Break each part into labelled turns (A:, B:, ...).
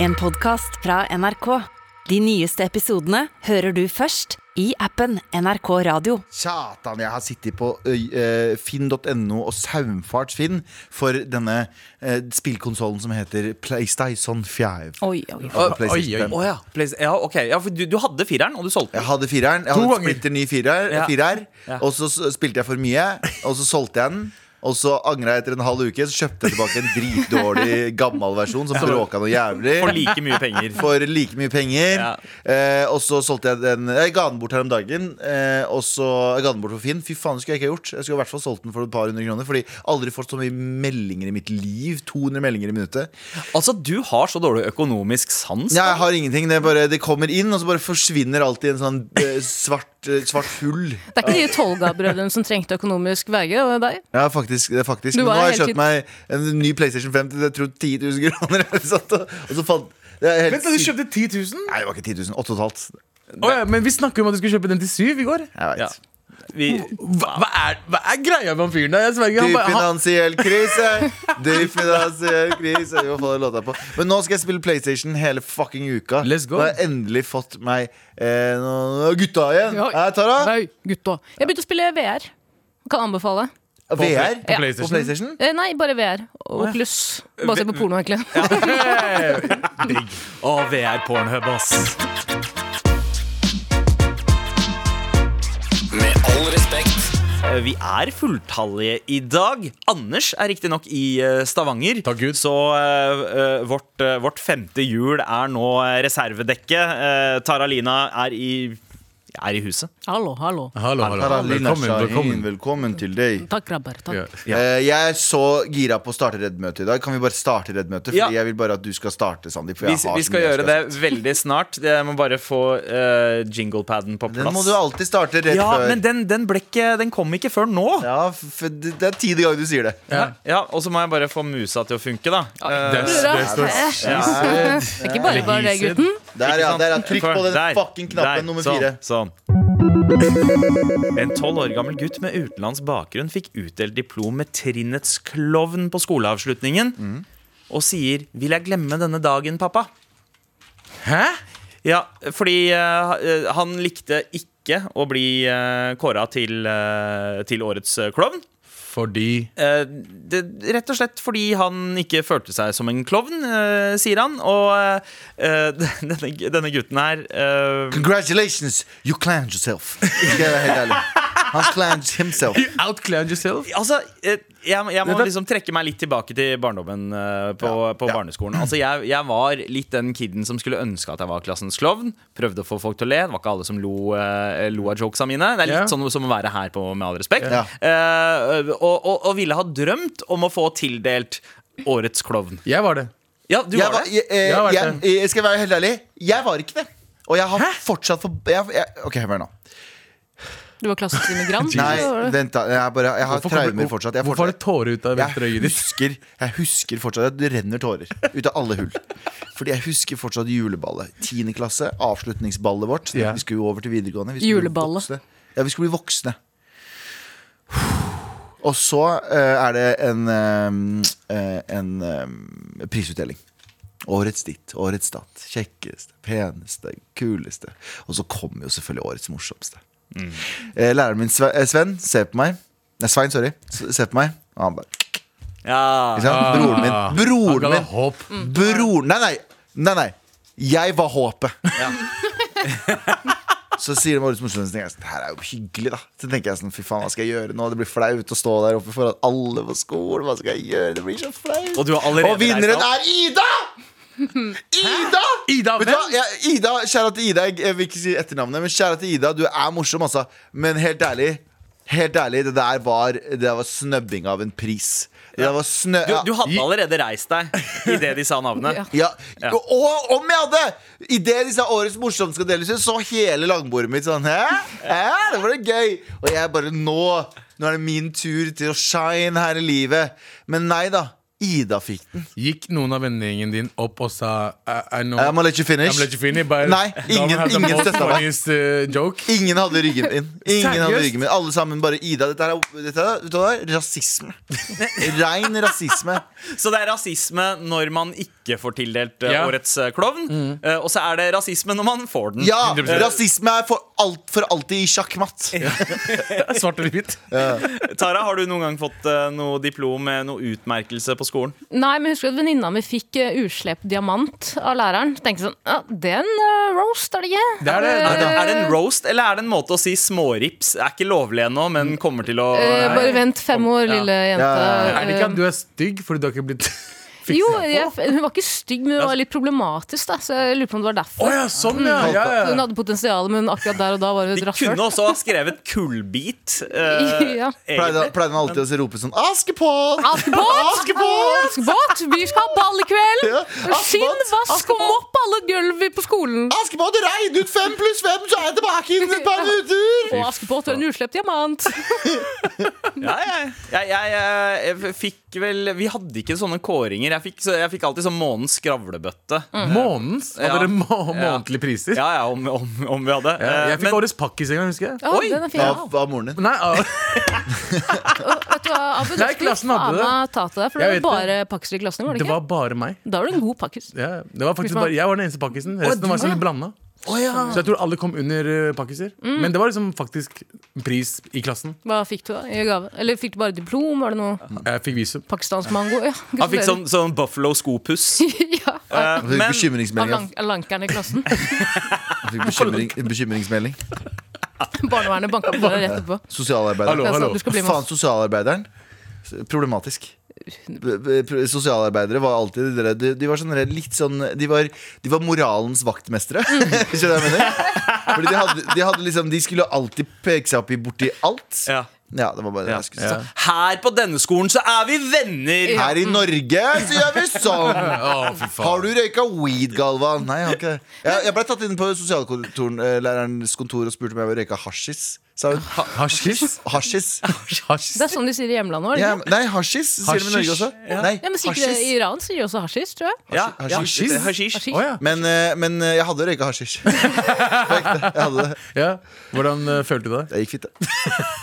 A: En podcast fra NRK. De nyeste episodene hører du først i appen NRK Radio.
B: Satan, jeg har sittet på øy- eh, finn.no og saumfart Finn for denne uh, spillkonsollen som heter PlayStation Altså 5.
A: Oi, oi,
B: Oi, oi, oi.
C: Å ja. Place- ja, ok. Ja, for du, du hadde fireren, og du solgte
B: Jeg
C: den.
B: hadde fireren. Jeg hadde
C: To
B: en
C: ganger.
B: splitter ny firer,
C: Ja.
B: firer
C: Ja.
B: og så s- spilte jeg for mye, og så solgte jeg den. Og så angra jeg etter en halv uke, så kjøpte jeg tilbake en dritdårlig gammel versjon som bråka noe jævlig.
C: For like mye penger.
B: for like mye penger.
C: Ja.
B: Eh, og så solgte jeg den Jeg ga den bort her om dagen. Eh, og så jeg ga den bort for Finn. Fy faen, det skulle jeg ikke ha gjort. Jeg skulle i hvert fall solgt den for et par hundre kroner. Fordi aldri fått så mye meldinger i mitt liv. 200 meldinger i minuttet.
C: Altså, du har så dårlig økonomisk sans.
B: Ja, jeg har ingenting. Det, er bare, det kommer inn, og så bare forsvinner alltid en sånn eh, svart, eh, svart hull.
D: Det er ikke de Tolga-brødrene som trengte økonomisk VG, det var deg.
B: Ja, faktisk. Det er faktisk.
D: Du
B: Men
D: var
B: nå har jeg
D: helt
B: kjøpt meg en ny PlayStation 5 til jeg tror 10 000 kroner. eller sånt, og- Og så falt det er helt
E: Vent, da, du
B: sykt.
E: kjøpte 10 000?
B: Nei, det var ikke 10 000. 8,5.
E: Å ja, men vi snakker om at du skulle kjøpe den til 7 i går.
B: Jeg veit.
C: Ja. Vi,
E: Hva, hva, er, hva er greia med han fyren der? Jeg sverger, han
B: Dyp
E: bare- han-
B: finansiell krise! Dyp finansiell krise Vi må få den låta på. Men nå skal jeg spille PlayStation hele fucking uka.
E: Let's go.
B: Nå har jeg endelig fått meg eh, noen gutta igjen.
D: Ja.
B: Ja. Tara?
D: Nei, gutta. Jeg begynte å spille VR. Kan anbefale.
B: VR?
E: på PlayStation?
B: På PlayStation?
D: Eh, nei, bare VR. Og pluss. Bare se på porno, egentlig.
C: å, VR Pornhub, ass.
F: Med all respekt.
C: Eh, Vi er fulltallige i dag. Anders er riktignok i eh, Stavanger.
E: Takk Gud.
C: Så eh, eh, vårt, eh, vårt femte hjul er nå eh, reservedekket. Eh, Tara Lina er i, er i huset.
D: Hallo, hallo.
E: Hallo,
B: Tara
E: hallo.
B: Lina
E: Velkommen,
B: Shahin,
E: velkommen.
B: velkommen til deg.
D: Takk, grabber. Takk.
E: Ja.
B: Eh, jeg er så gira på å starte Redd-møtet i dag. Kan vi bare starte Redd-møtet? Fordi
C: Ja.
B: jeg vil bare at du skal starte, Sandeep. for
C: Vi,
B: jeg har
C: vi
B: så
C: skal
B: mye jeg
C: gjøre det veldig snart. Jeg må bare få eh, jinglepaden på
B: si.
C: plass.
B: Den må du alltid starte rett
C: ja,
B: før.
C: men den, den, ble ikke, den kom ikke før nå. Ja.
B: Ja, for det det er tiende gang du sier det.
C: Og så må jeg bare få musa til å funke, da. Eh,
E: Det er- det står-
D: Ikke bare bare Eh, det, gutten.
B: Der, ja.
C: sant?
B: Der, ja. Trykk på den
C: Der,
B: fucking knappen
C: der,
B: nummer
C: sånn,
B: fire.
C: Sånn. En tolv år gammel gutt med utenlandsk bakgrunn fikk utdelt diplom med trinnets klovn på skoleavslutningen og sier 'Vil jeg glemme denne dagen, pappa?'
E: Hæ?
C: Ja, fordi eh, han likte ikke å bli uh, kåra til, eh, til årets eh, klovn.
E: Fordi
C: Eh, det, rett og slett fordi han ikke følte seg som en klovn, eh, sier han. Og eh, denne, denne gutten her eh,
B: Congratulations, you clowned yourself. Skal jeg være helt ærlig. Han clowned himself.
E: You outclowned yourself.
C: Altså, eh, jeg, jeg må
E: Dette-
C: liksom trekke meg litt tilbake til barndommen eh, på, på barneskolen. Altså, jeg, jeg var litt den kiden som skulle ønske at jeg var klassens klovn. Prøvde å få folk til å le. Det var ikke alle som lo, eh, lo av jokesa mine. Det er litt
E: Ja.
C: sånn som å være her på Med all respekt.
B: Ja.
C: Eh, og, og, og ville ha drømt om å få tildelt Årets klovn.
E: Jeg var det.
C: Ja, du
B: Jeg,
C: var
B: var,
C: det?
B: jeg, eh,
E: Jeg har vært
B: jeg, jeg skal være helt ærlig. Jeg var ikke det. Og jeg har fortsatt for, jeg, jeg, Ok, hør nå.
D: Du var klassisk immigrant.
B: Nei,
D: eller?
B: vent, da. Jeg, er bare, jeg har
E: Hvorfor kommer-
B: traumer fortsatt. Jeg,
E: Hvorfor har det
B: fortsatt.
E: tårer ut av venstre øye
B: jeg,
E: ditt?
B: husker, jeg husker fortsatt at det renner tårer ut av alle hull. Fordi jeg husker fortsatt juleballet. Tiende klasse, avslutningsballet vårt.
E: Ja.
B: Vi skulle jo over til videregående. Vi skulle bli
D: Juleballet.
B: voksne. Ja, vi skulle bli voksne. Og så eh, er det en, eh, eh, en eh, prisutdeling. Årets ditt, årets datt, kjekkeste, peneste, kuleste. Og så kommer jo selvfølgelig årets morsomste. Eh, Læreren min, Sve- eh, Sven, ser på meg. Nei, Svein, sorry. S- Ser på meg. Og han bare
C: Ja.
B: ikke sant? Broren min. Broren
E: Ah. Han ga deg
B: min.
E: håp.
C: Mm.
B: Broren Nei, nei. nei, nei. Jeg var håpet. Så sier de årets morsomste ting. Jeg sånn, Det her er jo hyggelig, da. Så tenker jeg sånn, fy faen, hva skal jeg gjøre nå? Det blir flaut å stå der oppe foran alle på skolen. Hva skal jeg gjøre? Det blir så flaut.
C: Og du har allerede
B: Og vinneren
C: reist deg
B: er Ida! Ida!
E: Ida,
B: Vet du hva?
E: hvem?
B: Jeg, Ida, Kjære til Ida, jeg, jeg vil ikke si etternavnet, men kjære til Ida, du er morsom, altså. Men helt ærlig, helt ærlig det der var, det der var snøbbing av en pris. Det der var snø...
C: Du, du hadde allerede reist deg idet de sa navnet.
D: Ja.
B: Ja. Og, og om jeg hadde! Idet disse årets morsomme skal deles ut, så hele langbordet mitt sånn Hæ? Hæ? Det var det gøy! Og jeg bare Nå Nå er det min tur til å shine her i livet. Men nei da. Ida fikk den.
E: Gikk noen av vennegjengen din opp og sa I, I know
B: I'm gonna let you finish.
E: I'm let you finish, but
B: Nei, ingen-
E: Don't have the
B: ingen
E: most
B: støtta meg.
E: funniest, uh, joke.
B: Ingen hadde ryggen min. Ingen hadde
E: Seriøst?
B: ryggen min Alle sammen bare Ida. Dette er, dette er, vet du hva det er rasisme. Rein rasisme.
C: Så det er rasisme når man ikke ikke får tildelt eh,
E: Ja.
C: årets eh, klovn. Eh, og så er det rasisme når man får
B: Mm.
C: den.
B: Ja!
E: 100%.
B: Rasisme er for, alt, for alltid i sjakkmatt.
E: Svart eller hvitt?
C: Tara, har du noen gang fått eh, noe diplom med noe utmerkelse på skolen?
D: Nei, men husker du at venninna mi fikk eh, uslept diamant av læreren? Tenkte sånn, ja, den eh, roast er det ikke?
E: Det er det.
C: Er det, er det en roast, eller er det en måte å si smårips? Er ikke lovlig ennå, men kommer til å
D: Eh, bare vent fem år, lille jente.
B: Ja, ja,
E: Er det ikke at du er stygg fordi du har ikke blitt fikset?
D: Jo, jeg, hun var ikke stygg, men hun var litt problematisk, da, så jeg lurer på om det var derfor.
E: Å ja, sånn, ja.
B: Mm.
E: ja, ja.
D: Hun hadde potensial, men akkurat der og da var hun
C: De
D: et
C: kunne
D: rasshøl.
C: også ha skrevet kullbit. eh,
D: Ja.
B: Pleide
C: egentlig.
B: pleide han alltid å rope sånn Askepott!
D: Askepott! Askepott! Vi skal ha ball i kveld!
B: Ja,
D: Skinn,
B: Askepott!
D: vask, kom opp alle gulv på skolen!
B: Askepott, regn ut fem pluss fem, så er jeg tilbake innen et par minutter!
D: Og Askepott er en uslept diamant.
C: Ja, jeg, jeg, jeg, eh, jeg fikk vel Vi hadde ikke sånne kåringer. Jeg fikk, så jeg fikk alltid sånn månedens skravlebøtte.
E: Månedens? Hadde
C: Ja.
E: dere må
C: Ja.
E: månedlige priser?
C: Ja, ja, om, om, om vi hadde.
E: Ja,
C: Eh,
E: Jeg fikk
C: men-
E: årets pakkis en gang, husker jeg.
D: Ja,
C: Oi!
D: den er fin.
B: Av,
D: Ja.
B: av moren din.
E: Nei, ah,
D: Vet du hva, Abu, du
E: Nei,
D: skulle
E: klassen hadde
D: faen
E: det.
D: meg ta til deg, for det
E: Jeg
D: var
E: vet
D: bare pakkiser i klassen, var det
E: det
D: ikke?
E: var bare meg.
D: Da var du en god pakkis.
E: Ja, det var faktisk
D: Hvis man-
E: bare, jeg var den eneste pakkisen. Resten
D: du
E: var
D: var
E: sånn
D: det?
E: blanda. Så jeg tror alle kom under eh, pakkiser.
D: Mm.
E: Men det var liksom faktisk pris i klassen.
D: Hva fikk du da i gave? Eller fikk du bare diplom? Var det noe
E: Jeg fikk visum.
D: pakistansk mango? Ja,
C: han fikk sånn, sånn Buffalo-skopuss.
D: ja,
C: Eh,
B: Jeg
C: men
B: fikk bekymringsmelding.
D: av
B: ass.
D: lank- av lankeren i klassen.
B: Jeg fikk bekymring, bekymringsmelding.
D: Barnevernet banka på døra rett etterpå.
B: Sosialarbeideren.
E: Hallo,
D: Jeg sa
E: hallo.
D: at Du skal bli med
B: Faen,
D: oss.
B: sosialarbeideren. Problematisk. B- b- pro- Sosialarbeidere var alltid de, de, de var sånn redd- litt sånn De var, de var moralens vaktmestere.
D: Mm.
B: Skjønner du hva jeg mener? Fordi de hadde, de hadde liksom De skulle alltid peke seg opp i borti alt.
C: Ja.
B: Ja, det var bare det
C: Ja.
B: jeg skulle si.
C: her på denne skolen så er vi venner!
D: Ja. Mm.
B: Her i Norge så gjør vi sånn!
E: Å, fy faen.
B: Har du røyka weed, Galvan? Nei, jeg har ikke det. Jeg, jeg ble tatt inn på sosiallærerens kontor og spurte om jeg ville røyke hasjis. Sa hun. Ha-
E: Hasjis?
B: Hasjis?
E: Hasjis?
D: Det er sånn de sier i hjemlandet vår.
B: Ja,
D: Ja,
B: men- nei, hasjis sier de i Norge også. Nei,
D: ja, men sikkert I
B: hasjis.
D: Iran sier de også hasjis, tror jeg.
C: Ja, ja,
B: Hasjis?
C: det- hasjis.
D: Hasjis.
E: Å ja.
B: Men, eh, men eh, jeg hadde røyka hasjisj. Jeg hadde det.
E: ja. Hvordan eh, følte du deg?
B: Det gikk fint, det.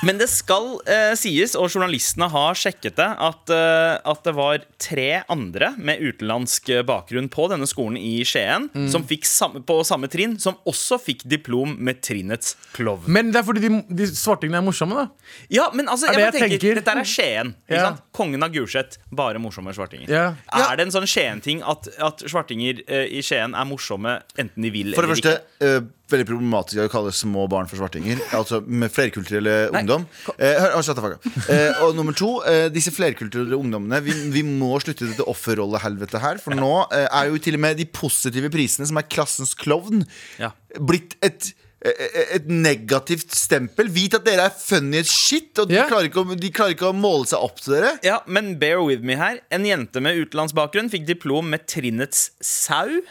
C: Men det skal eh, sies, og journalistene har sjekket det, at, eh, at det var tre andre med utenlandsk eh, bakgrunn på denne skolen i Skien
E: Mm.
C: som fikk samme, på samme trinn, som også fikk diplom med trinnets klovn.
E: Men det er fordi de, de svartingene er morsomme, da.
C: Ja, men altså, jeg,
E: Er det
C: bare
E: jeg
C: tenker,
E: tenker?
C: Dette er Skien. Ikke
E: Ja.
C: sant? Kongen av Gulset. Bare morsomme svartinger.
E: Ja.
C: Er det en sånn Skien-ting at, at svartinger eh, i Skien er morsomme enten de vil
B: For det
C: eller
B: første, eh, veldig problematisk å kalle små barn for svartinger. Altså med flerkulturelle ungdom. Eh, hør, hold, shut the fuck up. Eh, og nummer to, eh, disse flerkulturelle ungdommene. Vi, vi må slutte dette offerrollehelvetet her. For nå eh, er jo til og med de positive prisene, som er klassens klovn,
C: Ja.
B: blitt et eh, et negativt stempel. Vit at dere er funny as shit, og de,
E: Ja.
B: klarer ikke å, de klarer ikke å måle seg opp til dere.
C: Ja, men bear with me her. En jente med utenlandsbakgrunn fikk diplom med trinnets sau.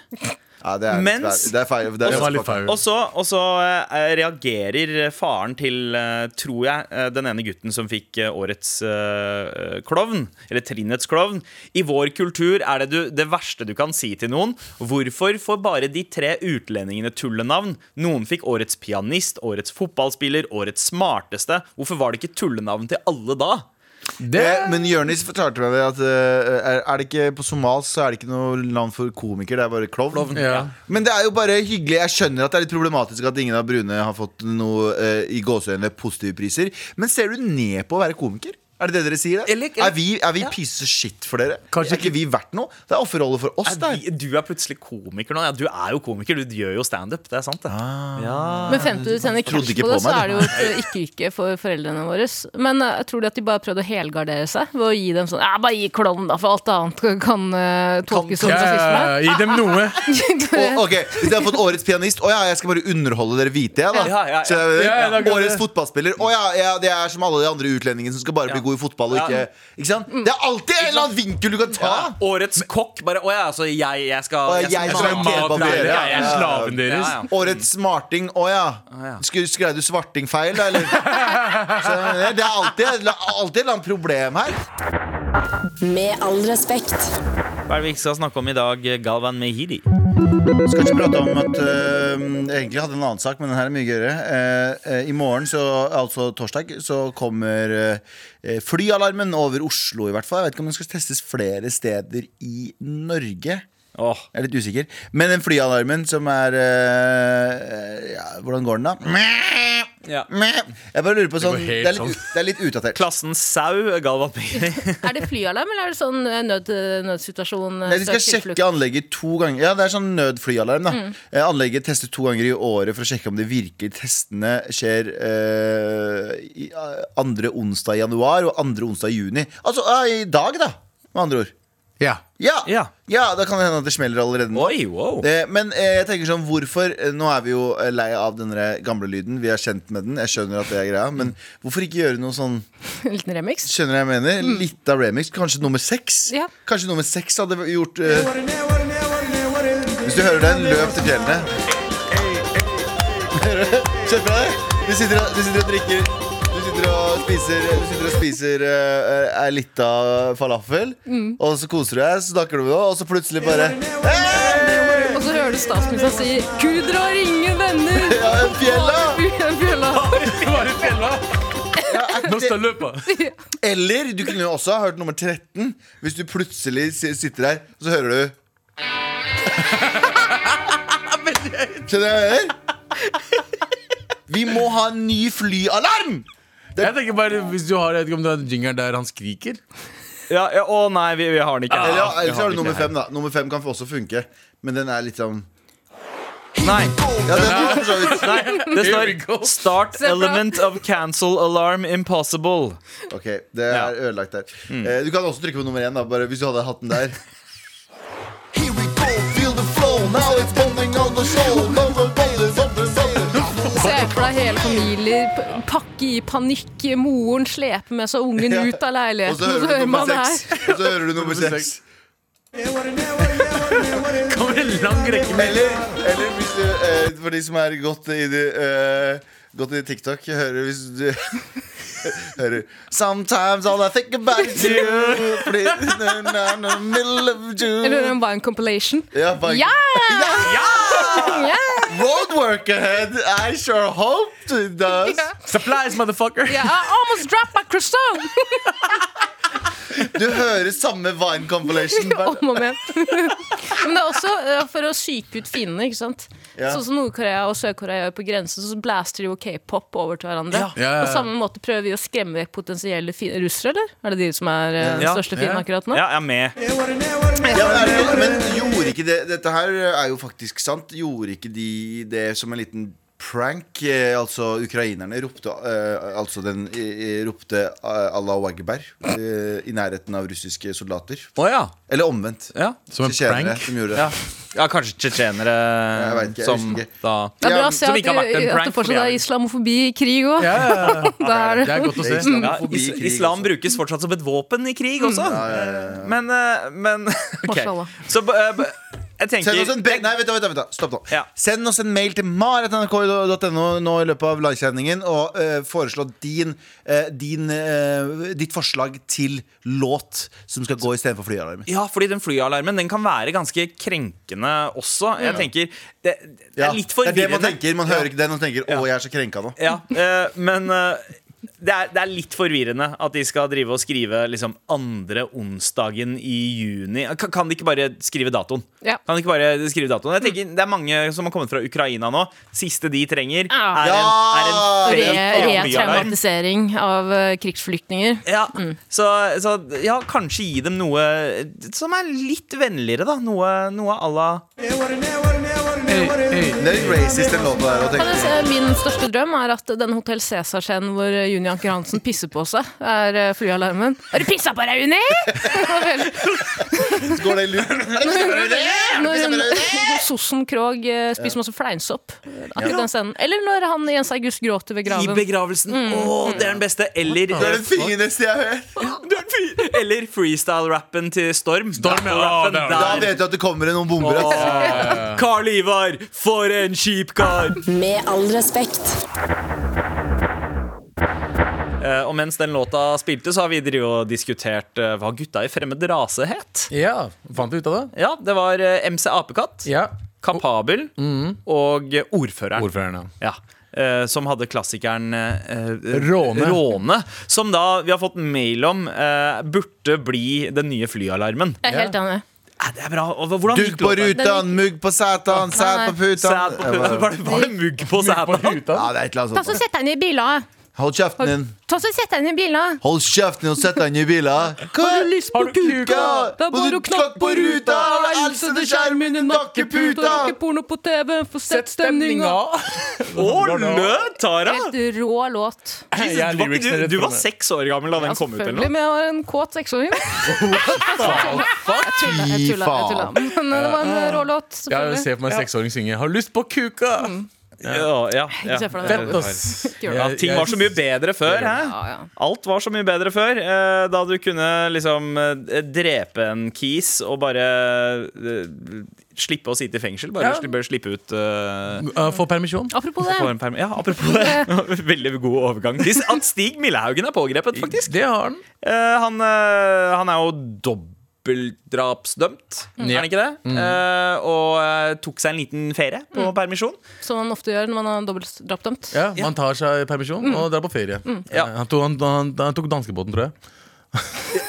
B: Ja, det er, litt
C: Mens-
B: feil. det er feil. Det er
E: Det var
B: ganske
E: litt
B: feil.
E: feil.
C: Og så, og så eh, reagerer faren til, eh, tror jeg, eh, den ene gutten som fikk eh, årets eh, klovn, eller trinnets klovn. I vår kultur er det du, det verste du kan si til noen. Hvorfor får bare de tre utlendingene tullenavn? Noen fikk årets pianist, årets fotballspiller, årets smarteste. Hvorfor var det ikke tullenavn til alle da?
E: Det,
B: Eh, Men Jonis fortalte meg at eh, er- er det ikke på somalsk så er det ikke noe navn for komiker, det er bare klovn.
E: ja.
B: Men det er jo bare hyggelig. Jeg skjønner at det er litt problematisk at ingen av brune har fått noe eh, i gåseøynene positive priser. Men ser du ned på å være komiker? Er det det dere sier? da?
C: Eller- eller-
B: er vi, er vi piece of shit for dere?
E: Kanskje
B: er ikke vi verdt noe? Det er offerrolle for oss.
C: Er
B: der
C: vi, du er plutselig komiker nå. Ja, du er jo komiker. Du gjør jo standup. Det er sant, det. Ja.
D: Men frem til du tjener
B: Trodde
D: cash
B: ikke
D: på det,
B: på
D: så
B: meg,
D: er det jo et ikke-ikke for foreldrene våre. Men eh, jeg tror de at de bare prøvde å helgardere seg ved å gi dem sånn Ja, bare gi klovnen, da, for alt annet kan eh, tolkes som
E: Ja,
D: rasisme.
E: gi dem noe.
B: Å, ok, Hvis jeg har fått årets pianist Å ja, jeg skal bare underholde dere hvite, jeg, da.
C: Ja, ja, ja.
B: Så jeg,
E: Ja, ja, da går
B: årets
E: det.
B: fotballspiller Å ja, ja, det er som alle de andre utlendingene som skal bare bli
C: Ja.
B: god i fotball. Og
C: Ja.
B: ikke, ikke sant? Det er alltid en eller annen vinkel du kan ta.
C: Årets kokk. Bare Å ja, altså, jeg, jeg skal
B: Å, ja, jeg
E: Jeg
B: skal
E: skal
B: ha
E: ha
B: kebab
E: mat
B: dere,
E: dere.
B: ja,
E: Jeg er
B: ja, ja.
E: slaven deres.
C: Ja, ja.
B: Årets smarting. Å ja.
C: ja.
B: Skre- Skrev du svarting feil, da? Eller? Så det er alltid, alltid et eller annet problem her.
F: Med all respekt.
C: Hva er det vi ikke skal snakke om i dag, Galvan Mehidi?
B: Skal ikke prate om at øh, jeg egentlig hadde en annen sak, men den her er mye gøyere. Eh, eh, I morgen, så, altså torsdag, så kommer eh, flyalarmen over Oslo, i hvert fall. Jeg vet ikke om den skal testes flere steder i Norge.
C: Åh,
B: Jeg er litt usikker. Men den flyalarmen som er eh, ja, Hvordan går den, da? Mæ,
C: ja.
B: mæ. Jeg bare lurer på sånn
E: går
B: Det
E: helt
B: er litt, det er litt utdatert.
C: Klassen Sau, Galvan Piri.
D: Er det flyalarm, eller er det sånn eh, nød, nødsituasjon? eh,
B: Nei, de skal
D: søk tilflukt?
B: sjekke anlegget to ganger. Ja, Det er sånn nødflyalarm. da Eh, Anlegget testes to ganger i året for å sjekke om det virker. Testene skjer eh, i, eh, andre onsdag i januar og andre onsdag i juni. Altså eh, i dag, da, med andre ord.
E: Ja.
B: Ja, ja.
C: Ja.
B: da kan det hende at det smeller allerede nå.
C: Oi, wow.
B: Eh, Men eh, jeg tenker sånn, hvorfor eh, Nå er vi jo eh, lei av denne gamle lyden. Vi er kjent med den. Jeg skjønner at det er greia. Men hvorfor ikke gjøre noe sånn
D: En liten remix?
B: Skjønner jeg mener? Litt av remix. Kanskje nummer seks?
D: Ja.
B: Kanskje nummer seks hadde gjort eh, Hvis du hører den, løp til fjellene. Hører du? Kjenner du det? Du sitter, og- du sitter og drikker Du sitter og spiser, du sitter og spiser eh, eh, ei lita falafel, og så koser du deg, så snakker du med henne, og så plutselig bare hey!
D: Og så hører du statsministeren si 'Ku drar ingen venner'.
B: Ja, en fjella!
D: Fjella.
E: Det var i fjella.
B: Ja, er
E: Nå
B: det-
E: står løpet.
B: Eller du kunne jo også ha hørt nummer 13 Hvis du plutselig si- sitter der Og så hører du Skjønner du hva jeg mener? Vi må ha en ny flyalarm
E: Jeg tenker bare, hvis du har, jeg vet ikke om du har en jingle der han skriker
C: Ja, ja, å nei, vi, vi har den ikke.
B: Eller ja,
C: Vi
B: ellers har
C: den
B: du nummer
C: ikke her.
B: 5 da Nummer 5 kan også funke Men den er litt sånn
C: Nei.
B: Ja, den er for så vidt
C: Nei, det
E: Here we
C: står 'Start element of cancel alarm impossible'.
B: Ok, det er ødelagt der eh, Du kan også trykke på nummer 1 da Bare hvis du hadde hatt den der Here we go, feel the flow Now it's bombing on the show Number one is up the
D: Se for deg hele familier p- pakke i panikk, moren slepe med seg ungen
B: Ja.
D: ut av
B: Og så
D: leiligheten,
B: hører du nummer
D: man det
B: seks.
D: her.
B: Og så hører du nummer seks.
E: Kommer en lang rekke med
B: Eller, eller hvis du, eh, for de som er godt i, det, eh, godt i TikTok, hører hvis du Hører Sometimes all I think about is you Fordi in the middle of
D: Eller
B: June
D: en Vine compilation.
B: ja, bare-
D: Ja! Ja!
B: Road work ahead, I sure hope it does.
E: Supplies, motherfucker!
D: Yeah, I almost dropped my croissant!
B: Du hører samme Vine compilation. bare-
D: Om og men. Men det er også eh, for å syke ut fiendene, ikke sant.
B: Ja.
D: Sånn som Nord-Korea og Sør-Korea gjør på grensen, så blaster de jo k-pop over til hverandre.
E: Ja, ja, ja.
D: På samme måte prøver vi å skremme vekk potensielle fi- russere, eller? Er det de som er eh, den
C: Ja.
D: største fienden
E: Ja.
D: akkurat nå?
C: Ja, jeg er med.
B: Ja, men, er det, ikke- men gjorde ikke det Dette her er jo faktisk sant. Gjorde ikke de det som en liten prank? Eh, altså, ukrainerne ropte eh, Altså, den eh, eh, ropte eh, Allah Wagber eh, i nærheten av russiske soldater.
C: Å ja.
B: Eller omvendt.
C: Ja.
E: Som en
B: Tsjetsjenere
E: prank.
B: som gjorde det.
C: ja. Ja, kanskje
B: Jeg
C: tsjetsjenere
B: vet ikke, jeg
C: som
B: husker ikke.
C: da
D: Det er
B: Ja,
D: bra å se
C: som
D: at,
C: ikke har vært en
D: det- at
C: prank,
D: det
C: for de
D: fortsatt
C: er-
D: er islamofobi i krig òg.
E: Ja, ja, ja.
D: Da er
E: Det
D: det
E: er godt å
B: Det
E: se.
B: er islamofobi
C: ja,
B: i
C: is
B: krig
C: Islam
B: også.
C: brukes fortsatt som et våpen i krig også.
B: Mm.
C: Men, eh, men ok.
D: Mashallah.
C: Så eh, b- jeg
B: Send oss
C: tenker
B: en, be- nei, vent, da, vent, da, vent, da. Stopp nå.
C: Ja.
B: Send oss en mail til maratnrk.no nå i løpet av livesendingen og eh, foreslå din, eh, din, eh, ditt forslag til låt som skal gå istedenfor flyalarm.
C: ja, fordi den flyalarmen den kan være ganske krenkende også. Jeg tenker Det, det
B: Ja,
C: er litt
B: Det er det man
C: forvirrende.
B: tenker. Man hører ikke den og tenker 'Å, jeg er så krenka nå'.
C: Ja, eh, men eh, det, er, det er litt forvirrende at de skal drive og skrive liksom andre onsdagen i juni. Kan, kan de ikke bare skrive datoen?
D: Ja.
C: Kan de ikke bare skrive datoen? Jeg tenker, det er mange som har kommet fra Ukraina nå. Siste de trenger,
D: Ah.
C: er en, er en
D: Re-
C: fake flyalarm.
D: Retraumatisering av eh, krigsflyktninger.
C: Ja, så, så ja, kanskje gi dem noe som er litt vennligere, da. Noe, noe à la
E: Hey, hey.
B: Det er litt racist, den låta der. å
D: Kan jeg
B: tenke.
D: si, Min største drøm er at den Hotell Cæsar-scenen hvor eh, Juni Anker Hansen pisser på seg, er eh, flyalarmen. Har du pissa på deg, Juni?!
B: Går det i lur?
D: Når hun- når Sossen Krogh eh, spiser masse fleinsopp. Akkurat den scenen. Eller når han Jens August gråter ved
C: I
D: graven.
C: begravelsen. Å, det er den beste. Eller
B: Det er det fineste jeg har hørt.
C: Du er en fyr. Eller freestyle-rappen til Storm.
E: Storm, ja.
C: Rappen
E: Ja, det er-
B: Da
C: der.
B: vet du at det kommer noen bomber. ass.
C: Karl Ivar, for en kjip kar!
F: Med all respekt.
C: Eh, og mens den låta spilte, så har vi drevet og diskutert eh, hva gutta i fremmed rase het.
E: Ja, fant du ut av det?
C: Ja, det var eh, MC Apekatt,
E: Ja.
C: Kapabel og eh, Ordføreren.
E: Ordføreren, ja.
C: Ja. eh, som hadde klassikeren eh, eh,
E: Råne.
C: Råne. Som da vi har fått mail om eh, burde bli den nye flyalarmen.
D: Jeg er helt enig.
C: Ja, det er bra. Og hva- Hvordan
B: Duk
C: gikk
B: på
C: låta?
B: rutan, mugg på satan, sæd på
C: Sæd
B: putan.
C: på puta. Var, det- var det mugg på sæden?
B: Ja, det er et eller annet sånt.
D: sett deg ned i bila.
B: Hold kjeften din.
D: Ta så sett deg ned i bila.
B: Hold kjeften din og sett deg inn i bilen. Hva
D: Har du lyst på kuka? Da
B: Må
D: bare
B: du
D: å knakke
B: knakke på ruta? Elsede skjermen din, nakke puta!
D: Ikke porno på TV, få sett stemninga.
C: Å, lø, Tara!
D: Helt rå låt.
C: Jesus,
E: Jeg er
C: du, var,
E: lyrics
C: ikke- du,
E: rett
C: du
E: for
C: var
E: meg.
C: seks år gammel da den
D: Ja,
C: kom ut? eller
D: selvfølgelig,
C: noe?
D: men jeg var en kåt seksåring. Jeg tuller, jeg tuller, jeg tuller. Men eh, det var en rå låt,
E: Jeg
D: selvfølgelig.
E: ser for meg en seksåring synge 'Har du lyst på kuka'?
C: Ja, ja, Mm. ja.
D: se for deg det.
E: Fett, ass.
C: Ja,
E: Jeg-
C: ting
E: jeg-
C: var så mye bedre før.
D: Ja,
C: Hæ?
D: ja.
C: Alt var så mye bedre før. eh, Da du kunne liksom eh, drepe en kis og bare eh, slippe å sitte i fengsel. Bare
E: Ja.
C: sli- bare slippe ut eh,
E: Uh, Få permisjon.
D: Apropos
C: Få
D: det.
C: en perm ja, apropos det. Veldig god overgang. Dis- At Stig Millehaugen er pågrepet, faktisk.
E: Det har han.
C: Eh, han, eh, han er jo dobbeltdrapsdømt,
E: Mm.
C: er han ikke det? Eh, og eh, tok seg en liten ferie på
E: Mm.
C: permisjon.
D: Som man ofte gjør når man er dobbelt drapdømt.
E: Ja, Man tar seg permisjon og drar på ferie.
C: Mm. Ja.
E: Eh, Han, tok, han, han, han tok danskebåten, tror jeg.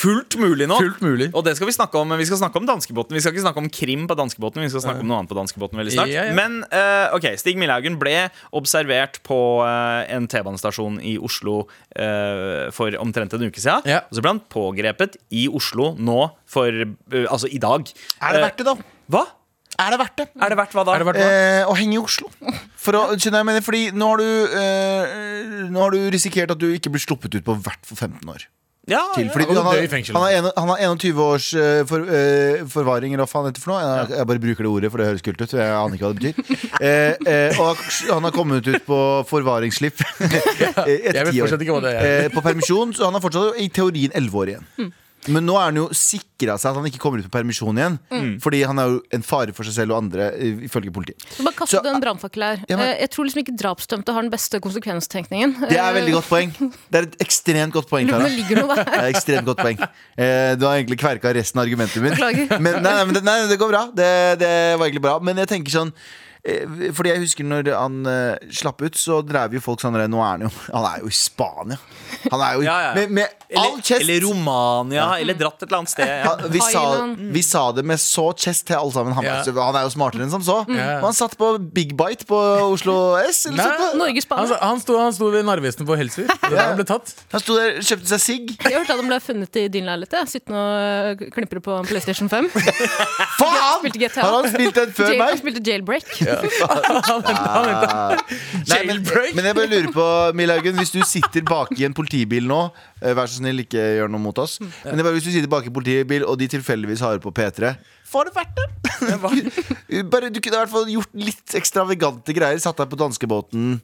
C: Fullt mulig nå.
E: Fullt mulig.
C: Og det skal vi snakke om. Vi skal snakke om danskebåten. Vi skal ikke snakke om krim på danskebåten. Vi skal snakke om noe annet på danskebåten veldig snart.
E: Ja, ja.
C: Men eh, ok, Stig Millehaugen ble observert på eh, en T-banestasjon i Oslo eh, for omtrent en uke siden.
E: Ja.
C: Og så ble han pågrepet i Oslo nå for eh, Altså i dag.
B: Er det verdt det, da?
C: Eh, Hva?
B: Er det verdt det?
C: Er det verdt hva da?
E: Er det verdt det?
B: Eh, å henge i Oslo. For å, skjønner jeg, mener, fordi nå har, du, eh, nå har du risikert at du ikke blir sluppet ut på hvert for 15 år.
C: Ja,
B: Til, fordi
E: og du
B: han,
E: dør i
B: har,
E: fengsel.
B: han, har en, han har 21 års eh, for, eh, forvaring, eller hva faen heter det for noe. Jeg, jeg bare bruker det ordet, for det høres kult ut. Jeg aner ikke hva det betyr. Eh, eh, og han har kommet ut på forvaringsslipp
E: Jeg
B: etter
E: vet
B: ti år.
E: fortsatt ikke hva det er.
B: Eh, på permisjon, så han er fortsatt i teorien 11 år igjen. Men nå er han jo sikra seg at han ikke kommer ut på permisjon igjen. Fordi han er jo en fare for seg selv og andre, eh, ifølge politiet.
D: Så bare kaste
B: Så-
D: en brannfakkel her.
B: Ja, men-
D: Eh, Jeg tror liksom ikke drapsdømte har den beste konsekvenstenkningen.
B: Det er et veldig godt poeng. Det er et ekstremt godt poeng. Tara.
D: Det ligger noe der.
B: Det er et ekstremt godt poeng eh, Du har egentlig kverka resten av argumentet mitt.
D: Beklager.
B: Men, nei, nei, men det, nei, det går bra. Det, det var egentlig bra. Men jeg tenker sånn eh, fordi jeg husker når han eh, slapp ut, så drev jo folk sånn der, Nå er han jo Han er jo i Spania. Han er jo i-
C: Ja, ja.
B: Med, med all
C: Eller,
B: chest.
C: eller Romania, eller dratt et eller annet sted. Ja.
B: Han- vi, sa,
D: Thailand.
B: vi sa det med så chest til alle sammen. Han, var-
E: Ja.
B: han er jo smartere enn som så.
C: Mm.
E: Ja.
B: Og han satt på Big Bite på Oslo S. Eller
E: Nei.
B: sånt, da.
D: Norge,
E: Han,
B: Altså-
D: Spania.
E: Altså, han, sto, han sto ved Narvesen på Helsvik. Det var da Han ble tatt.
B: Han sto der, kjøpte seg sigg.
D: Jeg hørte at han ble funnet i din leilighet. jeg. Sittende og eh, klipper på en PlayStation 5.
B: Faen!
D: Spilte GTA.
B: Har han spilt den før
D: Jail,
B: meg?
D: han spilte jailbreak.
E: Han venta, han venta.
B: Ah. Nei, men,
E: Jailbreak.
B: men jeg bare lurer på, Milhaugen, hvis du sitter bak i en politibil nå eh, Vær så snill, ikke gjør noe mot oss. Men det er bare hvis du sitter bak i en politibil, og de tilfeldigvis har på P3 Får det vært det? bare, du kunne i hvert fall gjort litt ekstravagante greier. Satt deg på danskebåten.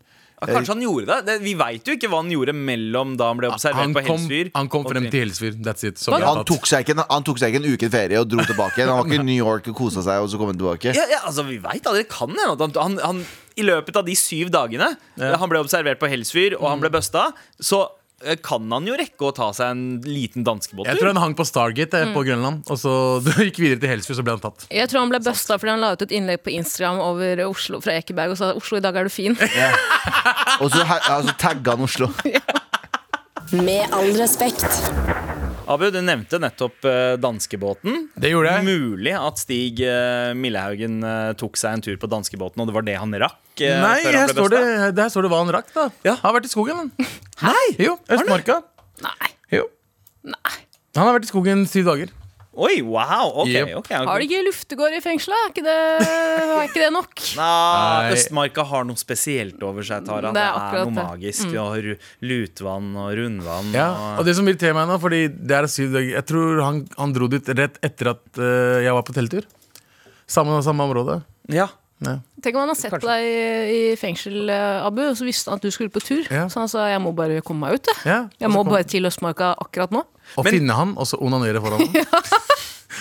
C: Ja, Kanskje han gjorde det? det? Vi veit jo ikke hva han gjorde mellom da han ble observert
E: Han
C: på
E: kom,
C: Helsfyr.
E: han kom
C: og
E: frem til Helsfyr. That's it. Så
D: Hva?
E: ble
B: Han
E: tatt.
B: tok, seg ikke, en- han tok seg ikke en uke ferie og dro tilbake igjen. Han var ikke i New York og kosa seg, og så kom han tilbake.
C: ja, ja, altså, Vi veit aldri. Det kan hende at han, han, han i løpet av de syv dagene eh, han ble observert på Helsfyr, og han
E: Mm.
C: ble busta, så eh, kan han jo rekke å ta seg en liten
E: Jeg tror
C: danskebåttur.
E: han hang på Stargate eh, på
D: Mm.
E: Grønland, og så gikk videre til Helsfyr, så ble han tatt.
D: Jeg tror han ble busta fordi han la ut et innlegg på Instagram over Oslo fra Ekeberg og sa 'Oslo, i dag er du fin'.
B: Og så he- altså, tagga han Oslo.
F: Med all respekt.
C: Abu, du nevnte nettopp eh, danskebåten.
E: Det gjorde jeg.
C: Mulig at Stig eh, Millehaugen eh, tok seg en tur på danskebåten, og det var det han rakk? eh,
E: Nei,
C: før han
E: her
C: ble
E: står, det,
C: busta?
E: her står det hva han rakk, da.
C: Ja.
E: Han har vært i skogen, han. Nei? Jo, Østmarka.
D: Nei.
E: Jo.
D: Nei.
E: Han har vært i skogen syv dager.
C: Oi, wow! Ok,
E: Jep.
C: ok, ok.
D: Har de ikke luftegård i fengselet? Er ikke det, er ikke det nok?
C: Nei.
E: Nei.
C: Østmarka har noe spesielt over seg, Tara.
D: Det
C: Det
D: er
C: er, noe
D: akkurat det. Mm.
C: magisk. Vi har ru- lutvann og rundvann.
E: Ja,
C: og...
E: og det som irriterer meg nå, fordi det er syv dager Jeg tror han, han dro dit rett etter at eh, jeg var på telttur. Samme, samme område.
C: ja.
E: Ja.
D: Tenk om han har sett deg i, i fengsel, eh, Abu, og så visste han at du skulle på tur.
E: Ja.
D: Så han sa 'jeg må bare komme meg ut', jeg.
E: Ja,
D: Jeg
E: og så
D: må
E: kom-
D: bare til Østmarka akkurat nå.
E: Å
C: Men-
E: finne han, og så onanere foran ham.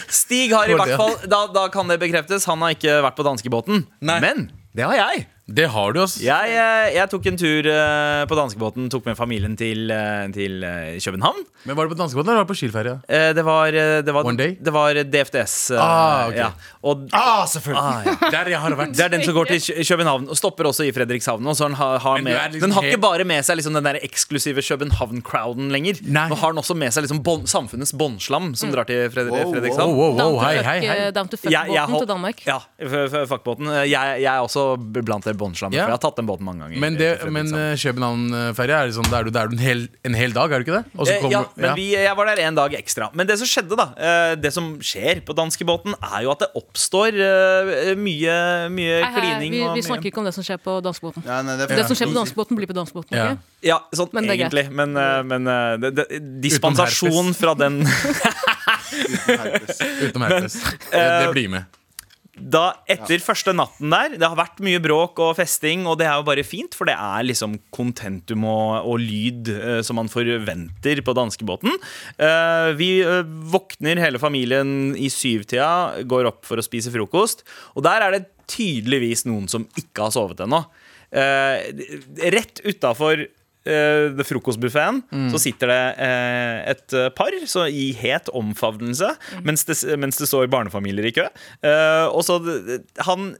C: Stig har i
E: Det var
C: hvert fall da, da kan det bekreftes. Han har ikke vært på danskebåten. Men det har jeg.
E: Det har du, ass.
C: Jeg, eh, jeg tok en tur eh, på danskebåten, tok med familien til, eh, til eh, København.
E: Men var det på danskebåten eller var det på skiferie?
C: Eh, Det var, eh, det var,
E: One day?
C: det var DFDS. eh,
E: Ah, ok.
C: ja. Og
E: Ah, selvfølgelig!
C: Ah, ja.
E: Der jeg har vært.
C: Det er den som går til Kø- København og stopper også i Fredrikshavn. Og så den, har, har
E: Men du
C: med,
E: er liksom
C: den har
E: helt-
C: ikke bare med seg liksom den der eksklusive København-crowden lenger.
E: Nei.
C: Nå har den også med seg liksom bånd- samfunnets båndslam, som
D: Mm.
C: drar til Fred
B: Wow,
E: Wow,
C: Fredrikshavn.
E: wow, wow,
D: Down
E: hei,
D: to
E: hei,
D: fuck,
E: hei.
D: eh, down to
C: Jeg- jeg
D: fuck-båten
C: har-
D: til Danmark.
C: Ja, f- f- fuckbåten. Jeg, jeg er også blant dere båndslammer,
E: Ja.
C: for jeg har tatt den båten mange ganger.
E: Men, det,
C: til
E: men
C: Fredrikshavn.
E: eh, København-ferie er liksom, da er du der en hel, en hel dag, er du ikke det? Og så
C: Eh,
E: kommer-
C: ja, men Vi, jeg var der en dag ekstra. Men det som skjedde, da eh, Det som skjer på danskebåten, er jo at det oppstår eh, mye, mye
D: Hei, hei,
C: klining.
D: vi,
C: og
D: vi
C: mye-
D: snakker ikke om det som skjer på danskebåten.
B: Ja, nei, det, er
D: Det som skjer på
B: fint.
D: danskebåten, blir på danskebåten.
E: Ja.
D: ok?
C: Ja, sånn
D: Men det er
C: egentlig. Men, eh, men eh, det, det, dispensasjon
E: herpes.
C: fra den
B: Herpes.
E: Utenom herpes. Det,
C: eh,
E: det blir med.
C: Da etter første natten der Det har vært mye bråk og festing, og det er jo bare fint, for det er liksom kontentum og, og lyd eh, som man forventer på danskebåten. Eh, vi eh, våkner hele familien i syvtida, går opp for å spise frokost, og der er det tydeligvis noen som ikke har sovet ennå. Eh, rett utafor uh, frokostbuffeen
E: Mm.
C: så sitter det eh, et eh, par så i het omfavnelse
E: Mm.
C: mens, det, s- mens det står barnefamilier i kø. Eh, og så d- han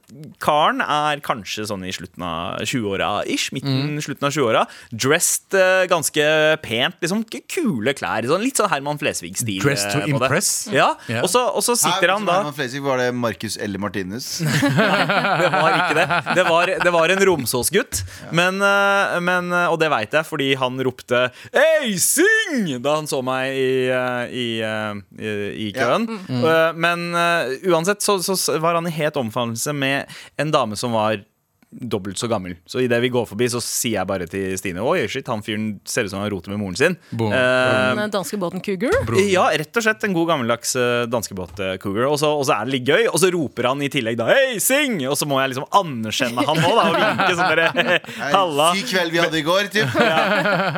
C: karen er kanskje sånn i slutten av 20-åra ish.
E: Mm.
C: Midten, slutten av 20-åra. Dressed eh, ganske pent. Liksom k- kule klær. Sånn, litt sånn Herman Flesvig-stil.
E: Dressed to
C: eh, på det.
E: impress?
C: Ja,
E: Ja.
C: Og, så, og så sitter
B: Her, liksom
C: han da
B: Herman Flesvig, var det Marcus eller Martinus?
C: det var ikke det. Det var, det var en Romsås-gutt. Men, eh, men, eh, og det veit jeg, fordi han ropte 'Hei, syng!' da han så meg i, eh, i, eh, i, i køen.
E: Mm.
C: Eh, Men eh, uansett så, så s- var han i het omfavnelse med en dame som var Dobbelt så gammel. Så idet vi går forbi, så sier jeg bare til Stine Oi, shit, han fyren ser ut som han roter med moren sin.
E: Boom.
C: Eh,
D: Den danskebåten Cougar.
C: ja, rett og slett en god gammeldags eh, danskebåt-cougar. Og så og så er det litt gøy, og så roper han i tillegg da 'Hei, sing!' Og så må jeg liksom anerkjenne han òg, da, og vinke sånn derre
B: Nei,
C: Halla!
B: Syk kveld vi hadde i går, typ.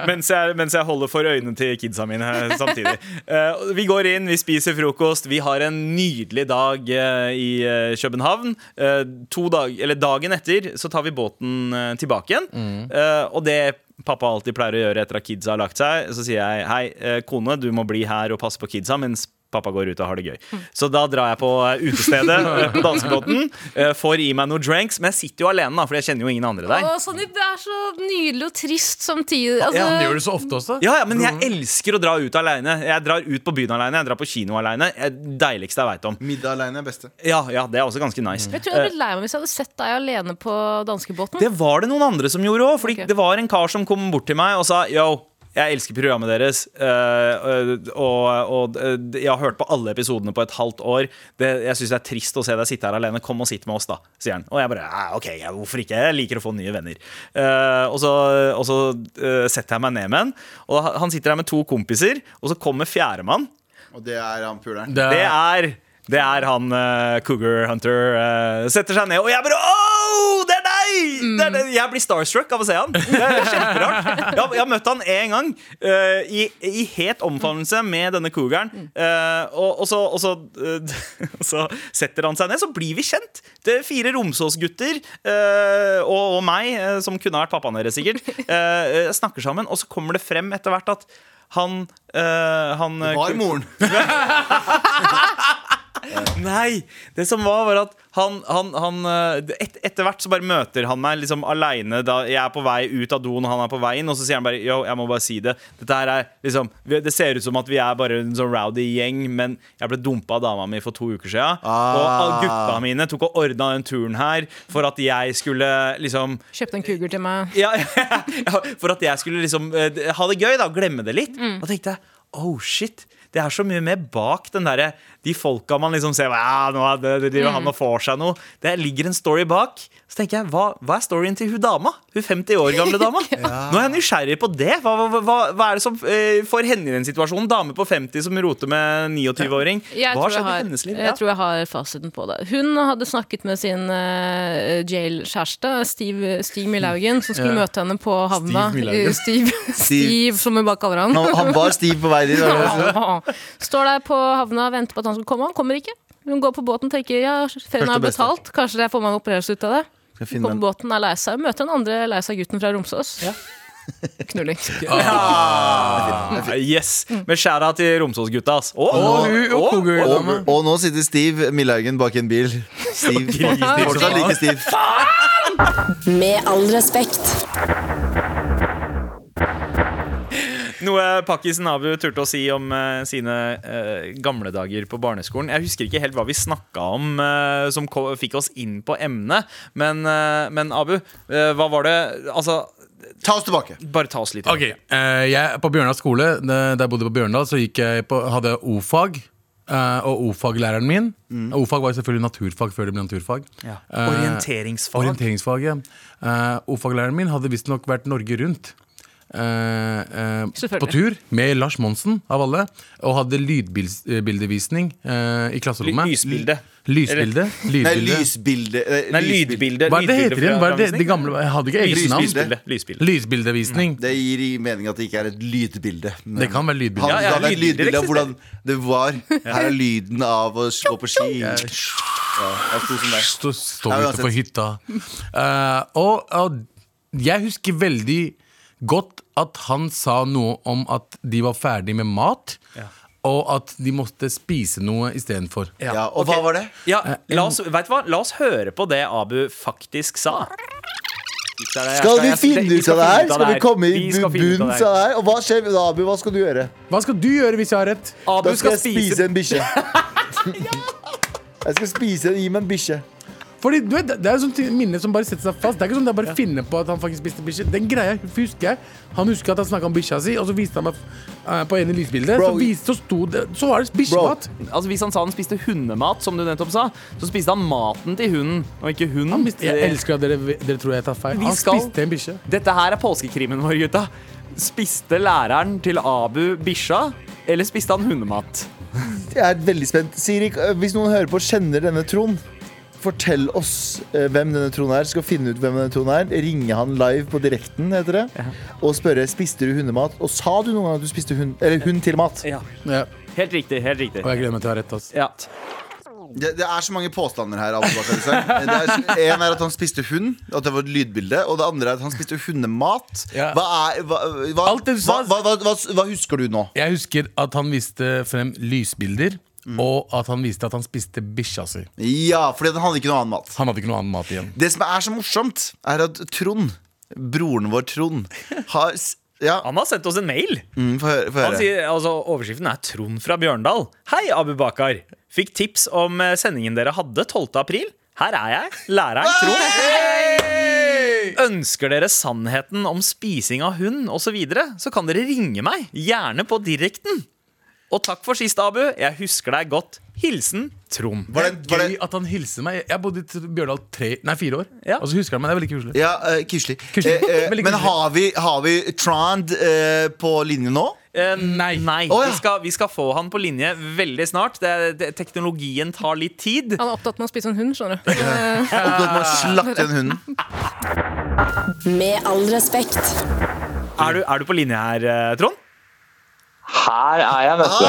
C: Mens jeg, mens jeg holder for øynene til kidsa mine eh, samtidig. Eh, og vi går inn, vi spiser frokost, vi har en nydelig dag eh, i eh, København. Eh, to dag, eller dagen etter så tar vi båten eh, tilbake igjen, Eh, og det pappa alltid pleier å gjøre etter at kidsa har lagt seg, så sier jeg hei, eh, kone, du må bli her og passe på kidsa mens pappa går ut og har det gøy. Så da drar jeg på eh, utestedet eh, på danskebåten, eh, får i meg noen drinks, men jeg sitter jo alene, da, for jeg kjenner jo ingen andre der.
D: Å, Sandeep, det er så nydelig og trist samtidig. Altså,
E: Han gjør det så ofte også.
C: Ja, ja, men jeg elsker å dra ut alene. Jeg drar ut på byen alene, jeg drar på kino alene. Jeg- Deiligste jeg veit om.
B: Middag alene er beste.
C: Ja, ja, det er også ganske nice.
D: Jeg tror jeg hadde blitt lei meg hvis jeg hadde sett deg alene på danskebåten.
C: Det var det noen andre som gjorde òg, Fordi
D: Ok.
C: det var en kar som kom bort til meg og sa yo. Jeg elsker programmet deres, eh, eh, og, og eh, jeg har hørt på alle episodene på et halvt år. Det, jeg syns det er trist å se deg sitte her alene. Kom og sitt med oss, da, sier han. Og jeg bare ja, OK, ja, hvorfor ikke? Jeg liker å få nye venner. Eh, og så, og så eh, setter jeg meg ned med han, og han sitter her med to kompiser, og så kommer fjerdemann.
B: Og det er han puleren.
E: Det
C: Det er
E: er,
C: det er han eh, Cougar Hunter eh, setter seg ned, og jeg bare Åh, det er deg! Det er det. Jeg blir starstruck av å se han. Det er kjemperart. Jeg, har- jeg har møtt han én gang, eh, i, i het omfavnelse med denne cougaren. Eh, og, og, så, og så, eh, så setter han seg ned, så blir vi kjent. Det er fire Romsås-gutter eh, og, og meg, eh, som kunne ha vært pappaen deres sikkert, eh, eh, snakker sammen, og så kommer det frem etter hvert at han, eh, han
B: Var moren.
C: Nei! Det som var, var at han, han, han eh, et, Etter hvert så bare møter han meg liksom aleine. Jeg er på vei ut av doen, og han er på vei inn, og så sier han bare Yo, jeg må bare si det. Dette her er liksom vi- Det ser ut som at vi er bare en sånn rowdy gjeng, men jeg ble dumpa av dama mi for to uker sia. Og
B: Ah.
C: all gutta mine tok og ordna den turen her for at jeg skulle liksom
D: Kjøpte en Cougar til meg.
C: ja, ja, for at jeg skulle liksom eh, ha det gøy, da. Glemme det litt.
D: Mm.
C: Da tenkte jeg oh shit. Det er så mye mer bak den derre de folka man liksom ser «Ja, nå er det, det driver
D: Mm.
C: han og får seg noe. Det ligger en story bak. Så tenker jeg, hva, hva er storyen til hun dama? Hun 50 år gamle dama? Nå er jeg nysgjerrig på det. Hva, hva, hva, hva er det som eh, får henne i den situasjonen? Dame på 50 som roter med en 29-åring.
D: Jeg,
C: Hva
D: tror jeg,
C: skjedde i
D: har,
C: hennes liv?
D: jeg tror jeg har fasiten på det. Hun hadde snakket med sin eh, jail-kjæreste, Steve, Stig Milhaugen, som skulle møte henne på havna.
E: Stig Milhaugen.
D: Eh, Steve, Steve, som hun bare kaller han.
B: Han, han var stiv på vei dit. var det det du sa?
D: Står der på havna og venter på at han skal komme. Han kommer ikke. Hun går på båten og tenker ja, ferien
B: Første
D: er
B: beste.
D: betalt, kanskje jeg får meg en opplevelse ut av det.
B: Skal jeg finne
D: På
B: den?
D: båten er lei seg. Møte den andre lei seg-gutten fra Romsås. Knulling.
C: Yes! Men skjæra til Romsås-gutta, ass. Å,
E: Og,
C: å,
E: og
C: å.
B: Og,
E: Kogøy-dame.
B: og nå sitter Steve Millaugen bak en bil. Steve, fortsatt like stiv.
F: Med all respekt.
C: Noe Pakkisen Abu turte å si om eh, sine eh, gamle dager på barneskolen. Jeg husker ikke helt hva vi snakka om eh, som ko- fikk oss inn på emnet, men, eh, men Abu, eh, hva var det Altså,
B: Ta oss tilbake.
C: bare ta oss litt
E: Ok, eh, jeg, På Bjørndal skole, eh, da jeg bodde på Bjørndal, så gikk jeg på, hadde jeg O-fag. eh, og O-faglæreren min O-fag var jo selvfølgelig naturfag før det ble naturfag.
C: Mm. Ja.
E: Eh,
C: Orienteringsfag.
E: orienteringsfag, ja. Eh, O-faglæreren min hadde visstnok vært Norge rundt. eh, eh,
D: Selvfølgelig.
E: på tur med Lars Monsen, av alle. Og hadde lydbildevisning eh, i klasserommet.
C: Ly- lysbilde.
E: Lysbilde.
B: Nei,
E: lydbilde.
B: lysbilde eh,
C: Nei,
B: lysbilde.
C: lydbilde.
E: Hva er det
C: lydbilde
E: det heter igjen? Hva er det, de
C: framvisning.
E: gamle, jeg hadde ikke eget navn.
B: Lysbilde.
C: Lysbilde. Lysbilde.
E: Lysbildevisning.
B: Det gir i mening at det ikke er et lydbilde. Men
E: Det kan være lydbilde.
B: Han,
C: Ja, ja,
B: det hadde et
C: lydbilder
B: lydbilde av
C: eksisterer.
B: hvordan det var. Her er lyden av å gå på ski. Ja, jeg sto som der.
E: Stå, stå
B: Ja,
E: ute på hytta. Eh, og, og jeg husker veldig godt at han sa noe om at de var ferdig med mat, og at de måtte spise noe istedenfor.
B: Ja, og hva
C: Ok.
B: var det?
C: Ja,
E: Eh,
C: la oss, vet du hva? la oss høre på det Abu faktisk sa.
G: Skal vi finne ut av det her? Skal vi komme i
C: skal finne ut av
G: bunnen
C: det
G: av det
C: her.
G: her? Og hva skjer, da, Abu? Hva skal du gjøre?
E: Hva skal du gjøre hvis jeg har rett?
C: Abu
G: Da skal jeg spise en bikkje. Jeg skal spise Gi meg en bikkje.
E: Fordi du vet, Det det er jo sånn ti- minne som bare setter seg fast. Det er ikke sånn at jeg bare finner på at han faktisk spiste bikkje. Den greia husker jeg. Han husker at han snakka om bikkja si, og så viste han meg eh, på ene lysbildet.
G: Bro.
E: Så, viste, så, sto det, så var det bikkjemat.
C: Altså Hvis han sa han spiste hundemat, som du nettopp sa, så spiste han maten til hunden, og ikke hunden.
E: Han spiste- Jeg elsker at dere, dere tror jeg tar feil.
C: Vi
E: Han
C: skal-
E: spiste en bikkje.
C: Dette her er påskekrimen vår, gutta. Spiste læreren til Abu bikkja, eller spiste han hundemat?
G: Jeg er veldig spent. Siri, eh, hvis noen hører på og kjenner denne Trond, fortell oss eh, hvem denne Trond er. Skal finne ut hvem denne Trond er. Ringe han live på direkten, heter det. Og spørre spiste du hundemat. Og sa du noen gang at du spiste hund, eller hund til mat?
C: Ja.
E: Ja,
C: Helt riktig. helt riktig
E: og jeg gleder meg til å ha rett. ass.
C: ja.
B: Det, det er så mange påstander her. Abu Bakar Hussein. Det er, en er at han spiste hund, at det var et lydbilde. Og det andre er at han spiste hundemat.
E: Ja.
B: Hva, er, hva, hva,
E: Alt det du sa-
B: hva, hva, hva, hva, hva husker du nå?
E: Jeg husker at han viste frem lysbilder, og at han viste at han spiste bikkja si.
B: Ja, fordi den hadde ikke noe annen mat.
E: Han hadde ikke noe annen mat igjen.
B: Det som er så morsomt, er at Trond, broren vår Trond, har s- Ja,
C: Han har sendt oss en mail.
B: mm, få høre. Få
C: Han
B: høre.
C: sier, altså Overskriften er 'Trond fra Bjørndal'. Hei, Abu Bakar. Fikk tips om eh, sendingen dere hadde 12. april. Her er jeg, læreren Trond. Ønsker dere sannheten om spising av hund osv., så, videre, så kan dere ringe meg, gjerne på direkten. Og takk for sist, Abu. Jeg husker deg godt. Hilsen Trond.
B: Var det, var
E: Gøy
B: det,
E: at han hilser meg. Jeg bodde i T- Bjørdal tre, nei, fire år,
C: Ja.
E: og så husker han meg. Det er veldig koselig.
B: ja, eh, kuselig.
E: Kuselig.
B: Eh, eh,
E: Veldig
B: men
E: kuselig.
B: har vi, har vi Trond eh, på linje nå?
C: Eh,
E: Nei.
C: nei.
B: Å, ja.
C: vi, skal, vi skal få han på linje veldig snart. Det, er- det, teknologien tar litt tid.
D: Han er opptatt med å spise en hund, skjønner du.
B: Og at man slakter den hunden?
F: Med all respekt.
C: Er du, er du på linje her, eh, Trond?
H: Her er jeg, vet
B: Ah,
H: du.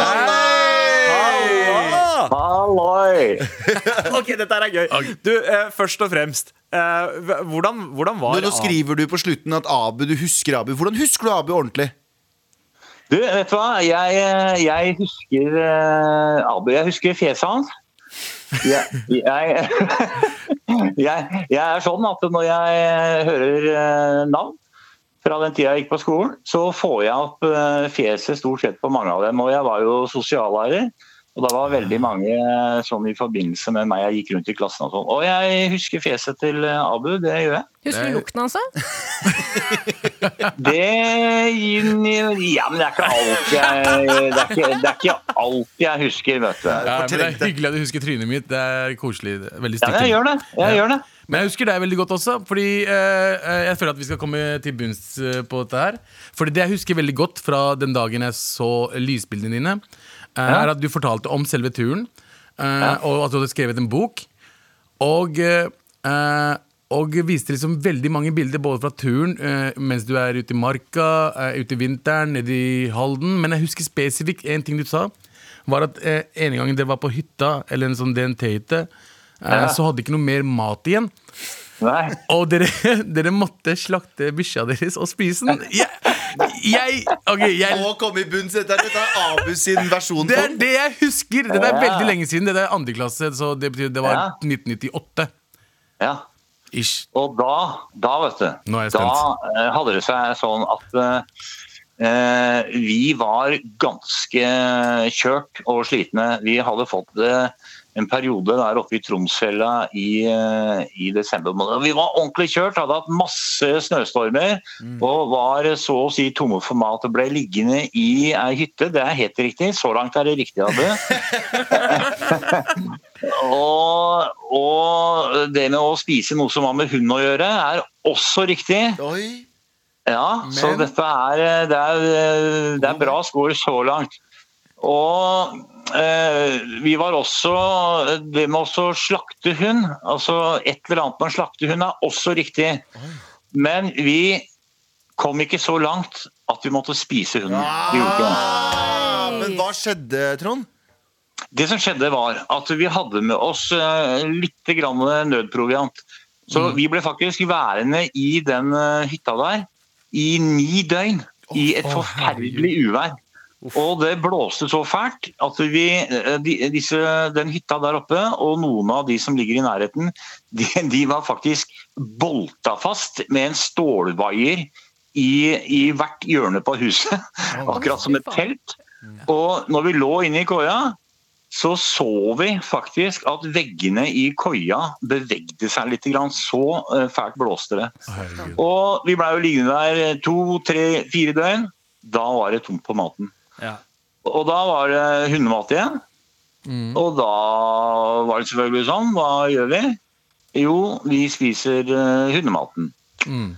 C: Hallo!
H: Halloi!
C: Ok, dette her er gøy. Du, eh, først og fremst. eh, hv- hvordan, hvordan var
B: Men nå skriver du på slutten at Abu, du husker Abu. Hvordan husker du Abu ordentlig?
H: Du, vet du hva? Jeg, eh, jeg husker eh, Abu. Jeg husker fjeset hans. Jeg, jeg, jeg, jeg er sånn at når jeg hører eh, navn fra den tida jeg gikk på skolen, så får jeg opp eh, fjeset stort sett på mange av dem. Og jeg var jo sosiallærer, og da var veldig mange eh, sånn i forbindelse med meg. Jeg gikk rundt i klassen og sånn. Og jeg husker fjeset til eh, Abu, det gjør jeg.
D: Husker du lukten hans? da?
H: Det Ja, men det er ikke alt jeg Det er ikke, det er ikke alt jeg husker, vet du.
E: Ja, Eh, men det er
B: fortrengte.
E: hyggelig at du husker trynet mitt. Det er koselig. Det er Veldig
H: Ja, men jeg gjør det. Jeg gjør det.
E: Men jeg husker deg veldig godt også, fordi eh, eh, jeg føler at vi skal komme til bunns eh, på dette her. Fordi det jeg husker veldig godt fra den dagen jeg så lysbildene dine, eh, er at du fortalte om selve turen, eh, og at du hadde skrevet en bok. Og, eh, eh, og viste liksom veldig mange bilder både fra turen eh, mens du er ute i marka, eh, ute i vinteren, nede i Halden. Men jeg husker spesifikt én ting du sa. Var at eh, en gang dere var på hytta, eller en sånn DNT-hytte, eh, så hadde ikke noe mer mat igjen.
H: Nei.
E: Og dere, dere måtte slakte bikkja deres og spise den. Jeg, jeg, ok, jeg
B: Må komme i bunns dette her. Dette er Abu sin versjon.
E: Det
B: på
E: er
B: den.
E: det jeg husker! Det er
H: Ja.
E: veldig lenge siden. Det er andre klasse, så det betyr det var
H: Ja.
E: 1998.
H: Ja.
E: Ish.
H: Og da, da vet du
E: Nå er jeg
H: Da
E: spent.
H: eh, hadde det seg sånn at eh, eh, vi var ganske kjørt og slitne. Vi hadde fått eh, en periode der oppe i Tromsfjella i, eh, i desember måned. Vi var ordentlig kjørt, hadde hatt masse snøstormer
E: Mm.
H: og var så å si tomme for mat og ble liggende i ei hytte. Det er helt riktig. Så langt er det riktig, Abbe. og, og det med å spise noe som har med hund å gjøre, er også riktig.
B: Oi.
H: Ja, så
E: Men-
H: dette er, det er, det er bra skår så langt. Og eh, vi var også Det med også slakte hund, altså et eller annet med å slakte hund, er også riktig. Men vi kom ikke så langt at vi måtte spise hunden. Vi gjorde ikke det.
B: Ah, men hva skjedde, Trond?
H: Det som skjedde var at vi hadde med oss eh, litt grann nødproviant. Så vi ble faktisk værende i den eh, hytta der i ni døgn i et forferdelig uvær. Og det blåste så fælt at vi, eh, de, disse, den hytta der oppe og noen av de som ligger i nærheten, de, de var faktisk bolta fast med en stålvaier i, i hvert hjørne på huset. Akkurat som et telt. Og når vi lå inne i koia, så så vi faktisk at veggene i koia bevegde seg litt. Grann. Så eh, fælt blåste det. Og vi blei jo liggende der eh, to, tre, fire døgn. Da var det tomt på maten.
C: Ja.
H: Og da var det hundemat igjen. Og da var det selvfølgelig sånn. Hva gjør vi? Jo, vi spiser eh, hundematen.
E: Mm.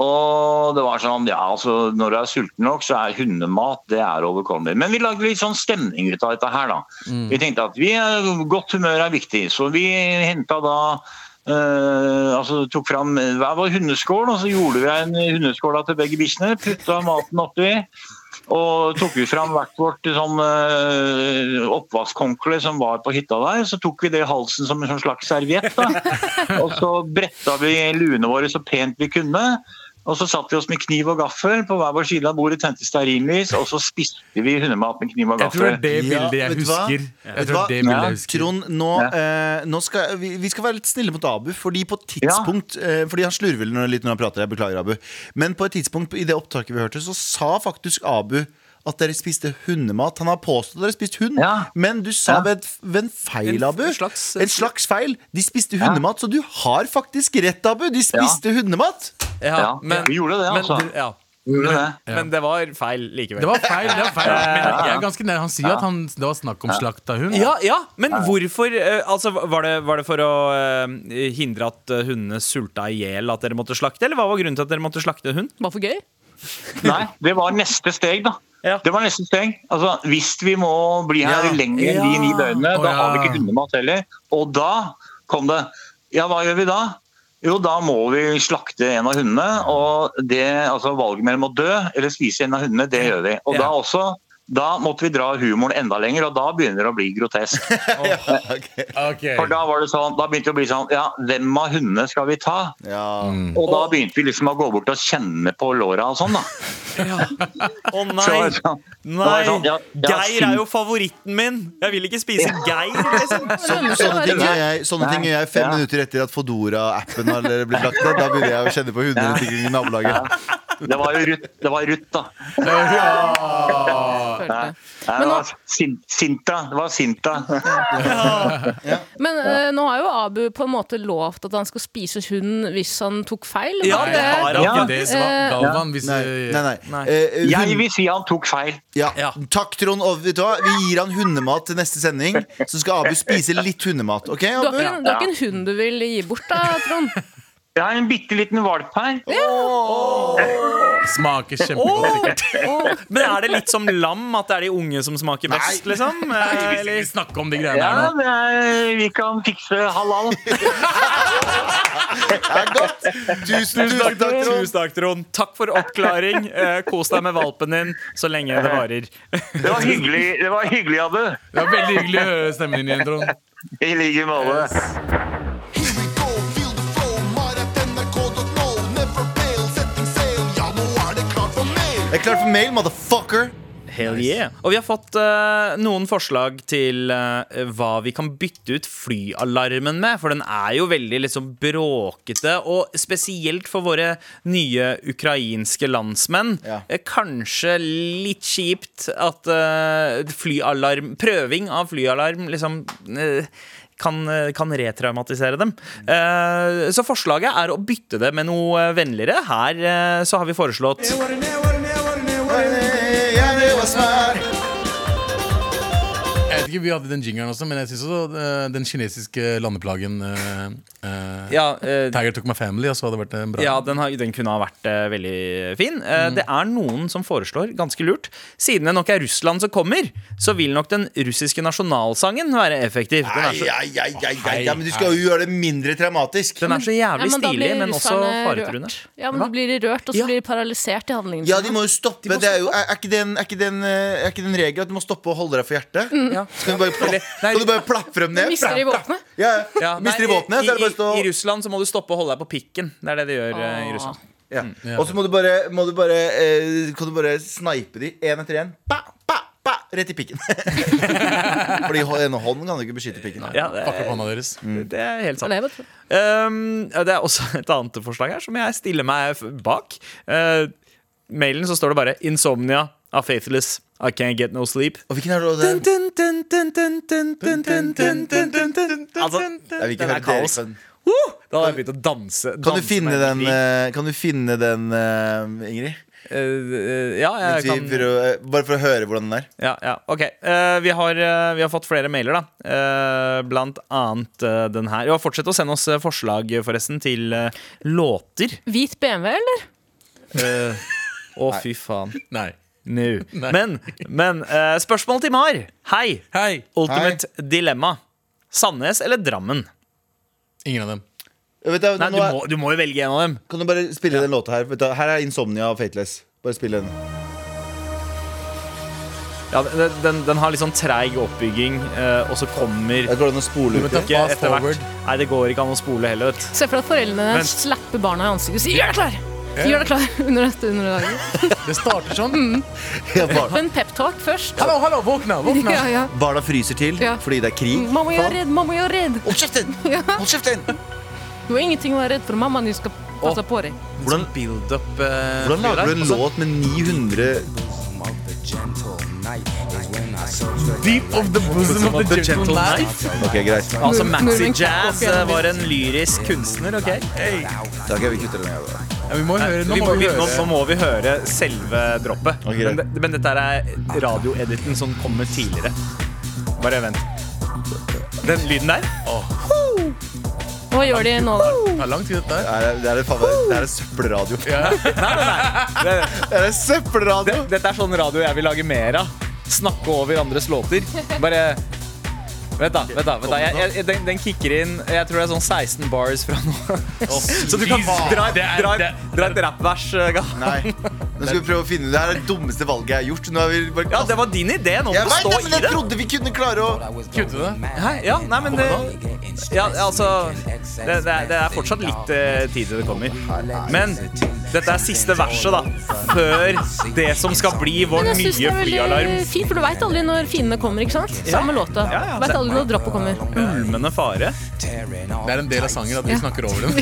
H: Og det var sånn, ja, altså når du er sulten nok, så er hundemat det er overkommelig. Men vi lagde litt sånn stemning ut av dette her, da. Vi tenkte at vi, eh, godt humør er viktig, så vi henta da eh, altså tok fram hver vår hundeskål, og så gjorde vi en hundeskål til begge bikkjene. Putta maten oppi. Og tok vi fram hvert vårt sånn, eh, oppvaskhåndkle som var på hytta der. Så tok vi det i halsen som en sånn slags serviett. da. Og så bretta vi luene våre så pent vi kunne. Og så satt vi oss med kniv og gaffel på hver vår side av bordet, tente stearinlys, og så spiste vi hundemat med kniv og
E: Jeg tror det
H: gaffel.
E: er det
B: Ja,
E: bildet jeg
B: vet du hva?
E: husker. Jeg
B: Vet du
E: tror
B: hva?
E: det er det bildet jeg husker.
B: Trond, nå, eh, nå skal, vi, vi skal være litt snille mot Abu, fordi på et
H: Ja.
B: tidspunkt eh, Fordi han slurver når- litt når han prater. Jeg beklager, Abu. Men på et tidspunkt i det opptaket vi hørte, så sa faktisk Abu at dere spiste hundemat. Han har påstått at dere spiste hund,
H: Ja.
B: men du sa
H: Ja.
B: ved, ved en feil,
C: En f-
B: Abu.
C: slags-
B: en slags feil. De spiste hundemat, så du har faktisk rett, Abu. De spiste hundemat.
H: Ja, vi gjorde det, altså.
C: Men, ja.
H: Gjorde det.
C: men det var feil likevel.
E: Det var feil. det var feil Men jeg er ganske nær. Han sier at han, det var snakk om slakta hund.
C: ja, ja, men hvorfor eh, altså, var, det, var det for å eh, hindre at eh, hundene sulta i hjel at dere måtte slakte, eller hva var grunnen til at dere måtte slakte hund?
D: Bare for gøy.
H: Nei, det var neste steg, da.
C: Ja.
H: Det var neste steg. Altså, hvis vi må bli her
B: Ja.
H: lenger enn de ni døgnene,
E: Å,
H: da har vi
E: ja.
H: ikke hundemat heller. Og da kom det Ja, hva gjør vi da? Jo, da må vi slakte en av hundene. Og det, altså, valget mellom å dø eller spise en av hundene, det gjør vi. Og
C: Ja.
H: da også da måtte vi dra humoren enda lenger, og da begynner det å bli grotesk.
E: Ok.
H: For da var det sånn, da begynte det å bli sånn Ja, hvem av hundene skal vi ta?
B: Ja.
E: Mm.
H: Og da begynte vi liksom å gå bort og kjenne på låra og sånn, da.
C: Å
H: Så
C: nei!
H: var det sånn,
C: Nei!
H: sånn, ja, ja,
C: Geir er jo favoritten min! Jeg vil ikke spise Geir, liksom.
D: Lønner seg å
B: Sånne
D: være
B: ting
D: med.
B: gjør jeg, sånne ting gjør jeg fem
H: Ja.
B: minutter etter at Fodora-appen har blitt lagt ned. Da begynner jeg å kjenne på hundeutvikling i nabolaget.
H: Det var jo Ruth, det var Ruth da.
D: følte jeg.
H: Nei, det var sin, Sinta. Det var Sinta.
D: Men eh, nå har jo Abu på en måte lovt at han skal spise hund hvis han tok feil.
C: Ja,
D: var
C: det har han.
E: Det var
H: Ja.
E: ikke det som var Galvan. Hvis,
B: Nei, nei, nei.
C: Nei.
B: Eh,
H: Jeg
B: hun-
H: vil si han tok feil.
B: ja.
C: Ja.
B: Takk, Trond. Og vet du hva? Vi gir han hundemat til neste sending. Så skal Abu spise litt hundemat. Ok,
D: Du
B: Abu?
D: har, ikke, en- du har ikke en hund du vil gi bort, da, Trond?
H: Jeg har en bitte liten valp her.
E: Smaker kjempegodt.
C: Men er det litt som lam, at det er de unge som smaker best, liksom? Eh,
E: Nei, vi skal
C: Eller?
E: ikke snakke om de greiene
H: Ja,
E: her nå.
H: det er, vi kan fikse halal.
B: Det er godt. Tusen, tusen takk, Trond.
C: Tusen takk, Trond. Takk for oppklaring. Eh, Kos deg med valpen din så lenge det varer.
H: Det var hyggelig, det var hyggelig av deg.
E: Det var veldig hyggelig å høre stemmen din igjen, Trond.
H: I like måte.
I: Here we go, feel the flow, might have
B: er klart for mail, motherfucker!
C: Hell yeah. Og vi har fått eh, noen forslag til eh, hva vi kan bytte ut flyalarmen med. For den er jo veldig liksom bråkete, og spesielt for våre nye ukrainske landsmenn.
B: Ja.
C: eh, kanskje litt kjipt at eh, flyalarm Prøving av flyalarm liksom eh, kan, eh, kan retraumatisere dem. Eh, så forslaget er å bytte det med noe eh, vennligere. Her eh, så har vi foreslått
E: Jeg vet ikke, Vi hadde den jingeren også, men jeg synes også eh, den kinesiske landeplagen eh, eh,
C: ja, eh,
E: Tiger Took My Family også hadde vært en bra
C: Ja, den, har, den kunne ha vært eh, veldig fin. Eh,
B: Mm.
C: Det er noen som foreslår, ganske lurt, siden det nok er Russland som kommer, så vil nok den russiske nasjonalsangen være effektiv. Den er
B: Ai,
C: så,
B: ai, ai, ai, ai, ja, men du skal jo gjøre det mindre traumatisk.
C: den er så jævlig
D: da
C: stilig,
D: blir
C: men også
D: russerne
C: faretruende.
D: rørt. Ja, men da blir de rørt, og så
C: Ja.
D: blir de paralysert i handlingene.
B: Ja,
D: sine.
B: de må jo stoppe. Det er, jo, er, er ikke den, er ikke den, eh, er ikke den regelen at du må stoppe og holde deg for hjertet?
C: Ja.
B: Skal du bare, pla-
C: Nei.
B: skal du bare plaffe dem
D: Da
B: ned?
D: mister de
B: Plaff, plaff.
D: våpenet.
B: Ja, ja.
C: Ja,
B: Mister de
C: nei,
B: våpenet, så er det bare å stå
C: i, I Russland så må du stoppe og holde deg på pikken. Det er det de gjør eh, i Russland.
B: Ja. Og så må du bare, må du bare, eh, kan du bare snipe de én etter én. Ba, ba, ba, rett i pikken. Fordi hå- en hånd kan du ikke beskytte pikken.
C: Ja, det, Mm.
E: Fuck opp hånda deres.
C: det er helt sant.
D: Det er det, vet du.
C: Um, det er også et annet forslag her som jeg stiller meg f- bak. Uh, mailen så står det bare 'Insomnia av Faithless'. I can't get no sleep.
B: Og hvilken er det? da?
C: Dun, dun, dun, dun, dun, dun, dun, dun, dun, dun, dun, dun. Altså,
B: Jeg vil ikke
C: den er
B: høre dere,
C: kaos.
B: men-
C: Woo! Da hadde jeg begynt å danse.
B: Kan du
C: danse
B: finne
C: meg
B: den,
C: i krig.
B: eh, kan du finne den eh, Ingrid?
C: Eh, eh, Ja,
B: Mens
C: jeg
B: vi
C: kan
B: prøver å- eh, bare for å høre hvordan den er.
C: Ja, ja, ok Eh, vi, har, eh, vi har fått flere mailer da Eh, Blant annet eh, den her Ja, Fortsett å sende oss eh, forslag eh, forresten til eh, låter
D: Hvit BMW, eller?
C: Eh, Å, fy faen.
E: Nei.
C: Nå. Men, men eh, spørsmål til Mar. Hei.
E: Hei!
C: Ultimate dilemma. Sandnes eller Drammen?
E: Ingen av dem.
B: Eh, Vet du,
C: Nei,
B: nå
C: du
B: er,
C: må, du må jo velge en av dem.
B: kan du bare spille den låta her? Vet du, her er Insomnia av Fateless. Bare spill den.
C: Ja, den, den, den har litt sånn treig oppbygging, eh, og så kommer
B: Jeg går an å spole ut.
E: Men ta
B: det.
C: ikke
E: fast
C: etter
E: forward.
C: hvert. Nei, det går ikke an å spole heller. vet du.
D: Se for deg at foreldrene
C: Vent.
D: slapper barna i ansiktet og sier 'gjør deg klar'! Gjør deg klar under dette underlaget.
E: Det starter sånn.
B: Ja, bar-
D: En peptalk først.
E: Hallo, hallo, våkna! våkna
D: Ja, ja.
B: Barna fryser til
D: Ja.
B: fordi det er krig.
D: Mamma, jeg er redd! Mamma, jeg er redd!
B: Hold kjeften! Hold kjeften!
D: Du har ingenting å være redd for. Mammaen din skal passe på deg.
B: Hvordan,
C: Build up eh,
B: hvordan lager du en
C: fyr der, og så-
B: låt med 900
E: Deep of the bosom of the gentle night.
B: Ok, greit.
C: Altså, Maxi
D: Nordmenn
C: Jazz
D: kan gå opp
C: eh,
D: igjen.
C: var en lyrisk kunstner, OK?
B: Da kan vi kutte den. her, da.
E: Ja, vi må jo høre. Nå
C: Vi,
E: må vi
C: vi, nå, nå
E: høre.
C: må vi høre selve droppet.
B: Ok,
C: men,
B: greit.
C: det- men dette er radioediten som kommer tidligere. Bare vent. Den lyden der?
D: Hva gjør de nå, da?
E: Det er lang tid, dette her.
B: Det er, det er, faen, meg- det er en søppelradio. Det er en søppelradio!
C: Det- Dette er sånn radio jeg vil lage mer av. Snakke over andres låter. Bare Vent, da. vent da, vent da. Jeg, jeg, den, den kicker inn Jeg tror det er sånn 16 bars fra nå. Så du kan dra, et- dra, et- dra et rappvers. eh, ga-
B: Nei. Nå skal vi prøve å finne ut. Det her er det dummeste valget jeg har gjort. Nå har vi bare
C: Ja, det var din idé. Nå må
B: Jeg
C: du
B: vet
C: stå
B: det, men
C: i
B: jeg
C: det.
B: trodde vi kunne klare å
E: Kutte det.
C: Hæ? Ja, nei, men det, ja, altså, det, det, er- det er fortsatt litt eh, tid til det kommer. Men dette er siste verset, da. Før det som skal bli vår
D: Jeg
C: nye
D: synes det er veldig
C: flyalarm.
D: fint, for eh, du veit aldri når fiendene kommer, ikke sant? Samme låta.
C: Ja, ja.
D: Vet aldri når droppet kommer.
C: Ulmende fare.
E: Det er en del av sangen at vi snakker over den.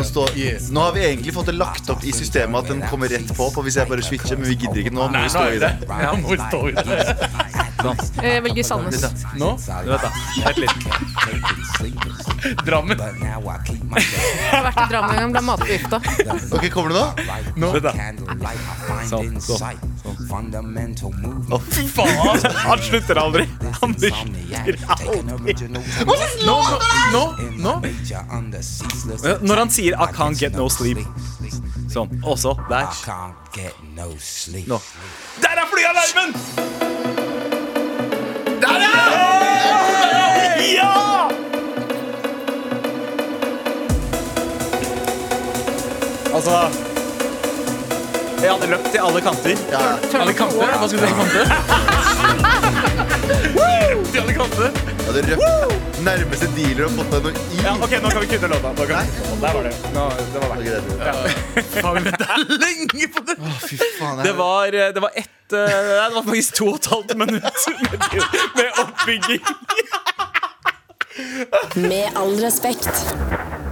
B: å stå
E: Yes.
B: Nå har vi egentlig fått det lagt opp i systemet at den kommer rett på, på hvis jeg bare switcher, men vi gidder ikke nå. Må vi stå i det.
E: Ja, må vi stå i det.
D: Jeg velger Sandnes.
E: Nå?
C: Vent litt.
E: Drammen.
D: Jeg har vært i Drammen en gang, ble matforgifta.
B: Ok, Kommer det nå?
E: Nå.
I: Sånn, sånn.
E: Faen!
C: Han slutter aldri. Han
E: Nå, nå, nå.
I: Når han sier
C: 'I can't get no sleep', sånn. Og så der.
I: Nå.
C: Der er flyalarmen! Der, ja! Ja! Altså Jeg hadde løpt til alle kanter.
E: Alle kanter. Hva skulle du si? Kanter? Til alle kanter.
B: Ja, det røff- nærmeste dealer har fått deg noe i.
C: Ja, ok, nå kan vi kutte låta. Nå kan vi kutte låta. Der var det. Nå, det var verdt det.
B: Ok, det tror jeg.
E: Faen, vi venta lenge på det!
B: Å, fy faen,
C: Det var, det var ett eh, Nei, det var faktisk to og et halvt minutt med, med oppbygging.
F: Med all respekt.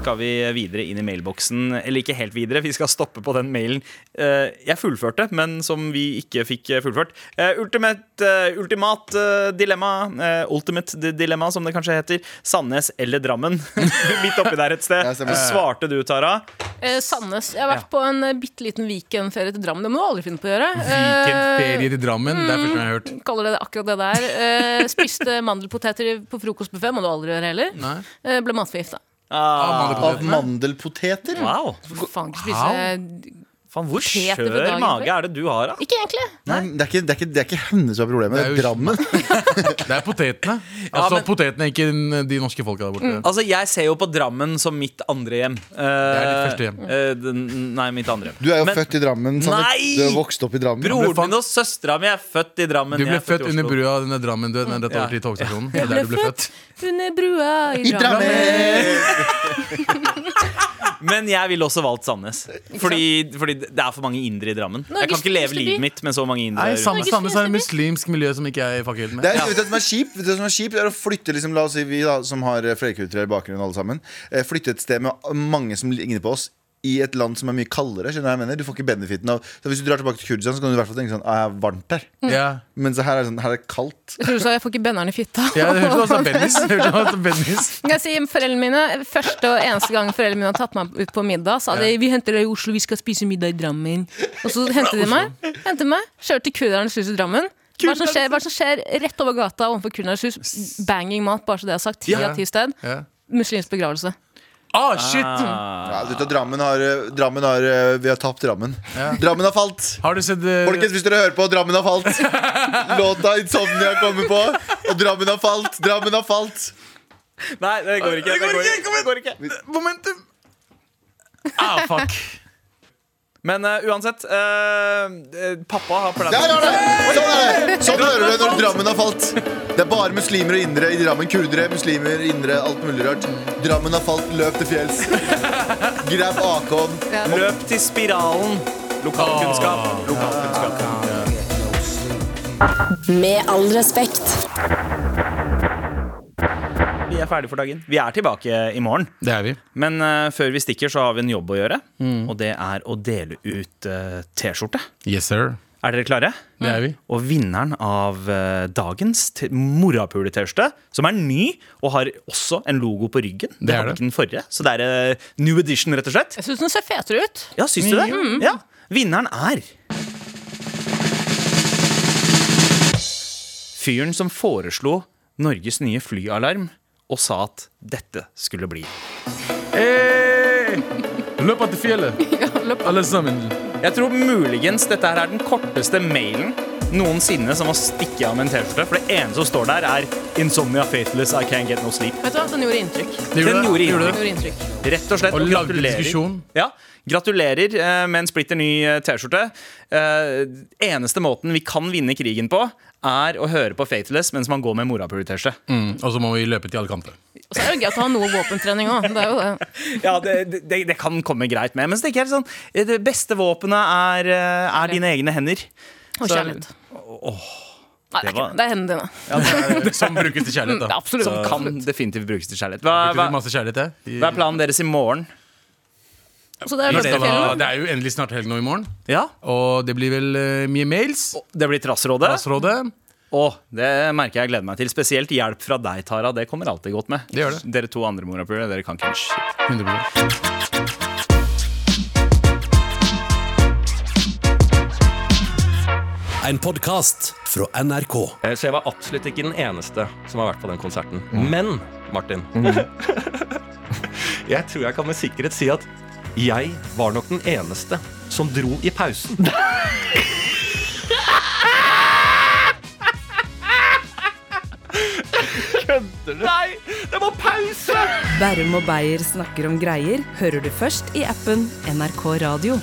C: Skal vi videre inn i mailboksen? Eller ikke helt videre, vi skal stoppe på den mailen eh, jeg fullførte, men som vi ikke fikk fullført. Eh, ultimate, eh, ultimat eh, dilemma, eh, ultimate di- dilemma som det kanskje heter. Sandnes eller Drammen? Midt oppi der et sted.
B: Ja,
C: Så
B: stemmer.
C: svarte du, Tara.
D: Eh, Sandnes. Jeg har vært
C: Ja.
D: på en eh, bitte liten weekendferie til Drammen. Det må du aldri finne på å gjøre.
E: Weekendferie til Drammen. Det er første gang jeg har hørt.
D: Eh, Kaller det det akkurat det der. Eh, spiste mandelpoteter på frokostbuffé. Må du aldri gjøre heller.
E: Nei.
D: Eh, ble matforgifta.
C: Ah,
G: Av mandelpoteter?
C: Wow.
D: Faen, ikke spise
C: Faen, hvor
D: Poteter på
C: skjør
D: dagen
C: mage
D: før.
C: er det du har, da?
D: Ikke egentlig.
G: Nei, men det, er ikke, det, er ikke, det er ikke henne som er problemet,
E: Det
G: det
E: er
G: er
E: jo-
G: Drammen.
E: Det er potetene. Altså
C: men-
E: potetene, ikke den- de norske folka der borte.
C: Altså, Jeg ser jo på Drammen som mitt andre hjem. Eh,
E: er ditt første hjem.
C: nei, mitt andre hjem.
G: Du er jo
C: Men-
G: født i Drammen. Sander.
C: Nei!
G: Du har vokst opp i Drammen.
C: Broren
E: Du fant-
C: min og søstera mi er født i Drammen.
E: Du
C: jeg
E: ble
C: er
E: født
C: i
E: under
C: Oslo.
E: brua av denne Drammen. Du, vet, den er rett over til togstasjonen. Det er der du ble født.
D: Under brua i
G: I
D: Drammen.
G: Drammen!
C: Men jeg ville også valgt Sandnes. Fordi, fordi det er for mange indere i Drammen. jeg kan
D: Norges
C: ikke leve
D: fineste by.
C: livet mitt med så mange indere.
E: Nei,
C: rundt.
E: samme,
D: Norges
E: samme som er et
D: fineste
E: muslimsk miljø som ikke jeg fucker helt med.
B: Det er, vet du, hva som er kjipt, vet du, hva som er kjipt Det er å flytte liksom, La oss si vi da, som har eh, flerkulturell bakgrunn alle sammen eh, Flytte et sted med mange som ligner på oss I et land som er mye kaldere Skjønner du hva jeg mener? Du får ikke benefiten av Så hvis du drar tilbake til Kurdistan Så kan du i hvert fall tenke sånn ah, Jeg er varmt der
E: Ja.
B: Men så her er det sånn Her er det kaldt
D: Jeg tror du sa jeg får ikke benneren i fitta.
E: Ja, det hørtes også Bennis. Det hørtes også Bennis.
D: Jeg sier foreldrene mine Første og eneste gang foreldrene mine har tatt meg ut på middag, sa de vi henter deg i Oslo, vi skal spise middag i Drammen. Og så hentet de meg. Hentet meg Kjørte til Kurderens hus i Drammen. Hva som, skjer, hva som skjer rett over gata overfor Kurderens hus? Banging mat, bare så det er sagt. Ti
E: Ja.
D: av ti sted.
E: Ja.
D: Muslimsk begravelse.
E: Ah, shit!
B: ja, du, vet at Drammen har, eh, Drammen har eh, Vi har tapt Drammen Drammen har falt
E: Har du sett eh,
B: Folkens, hvis dere hører på Drammen har falt Låta Insomnia kommer på Og Drammen har falt Drammen har falt
C: Nei, det går ikke.
E: Det går ikke, kom igjen.
C: det går ikke.
E: Momentum! Ah, fuck.
C: Men eh, uansett eh, eh, Pappa har pleid
B: Der er det! Sånn er det! Sånn hører du når Drammen har falt. Det er bare muslimer og indere i Drammen. Kurdere, muslimer, indere, alt mulig rart. Drammen har falt, løp til fjells. Grab AK-en.
C: Løp til spiralen. Lokalkunnskap.
E: Ah.
C: Lokalkunnskap.
F: Med all respekt.
C: Vi er ferdige for dagen. Vi er tilbake i morgen.
E: Det er vi.
C: Men eh, før vi stikker, så har vi en jobb å gjøre.
E: Mm.
C: Og det er å dele ut eh, T-skjorte.
E: Yes, sir.
C: Er dere klare?
E: Det er vi.
C: Og vinneren av eh, dagens te- morapule-T-skjorte, som er ny og har også en logo på ryggen Det,
E: er
C: hadde
E: det.
C: ikke den forrige, så det er eh, new edition, rett og slett.
D: Jeg syns den ser fetere ut.
C: Ja, syns du det? Ja. Vinneren er Fyren som foreslo Norges nye flyalarm og sa at dette skulle bli. Eh,
E: Hey! Løp til fjellet, alle sammen.
C: Jeg tror muligens dette her er den korteste mailen noensinne som har stikket av med en T-skjorte. For det eneste som står der, er 'Insomnia faithless, I can't get no sleep'.
D: Vet du hva, Den gjorde inntrykk.
C: Den gjorde
E: Gjorde
D: Den
E: det.
D: gjorde inntrykk.
C: Rett og slett.
E: Og lagde
C: gratulerer.
E: diskusjon.
C: Ja, Gratulerer eh, med en splitter ny eh, T-skjorte. Eh, eneste måten vi kan vinne krigen på, er å høre på Faithless mens man går med morapuler-T-skjorte.
E: Mm, og så må vi løpe til alle kanter.
D: Og så er det jo gøy å ha noe våpentrening òg. Det er jo det.
C: Ja, det, det, det kan komme greit med. Men så tenker jeg sånn, eh, det beste våpenet er, eh, er dine egne hender.
D: Og
C: Så-
D: kjærlighet. Nei, det er, ikke,
C: var-
D: det. det er hendene dine.
E: Som brukes til kjærlighet, da.
D: Absolutt.
C: Som kan definitivt brukes til kjærlighet. Hva,
E: Brukte du
C: hva,
E: masse kjærlighet, jeg? I-
C: hva er planen deres i morgen?
D: Så det er
E: Vi
D: løpet
E: skal
D: av
E: ha-
D: fjellet.
E: Det er jo endelig snart helg nå i morgen,
C: Ja,
E: og det blir vel eh, mye mails.
C: Det blir Trassrådet.
E: Statsrådet.
C: Åh, det merker jeg gleder meg til. Spesielt hjelp fra deg, Tara. Det kommer alltid godt med.
E: Det gjør det.
C: Dere to andre morapulere, dere kan ikke en shit.
E: 100%.
J: En podkast fra NRK.
K: Eh, Så jeg var absolutt ikke den eneste som har vært på den konserten. Men, Martin Jeg tror jeg kan med sikkerhet si at jeg var nok den eneste som dro i pausen.
A: Bærum og Beyer snakker om greier hører du først i appen NRK Radio.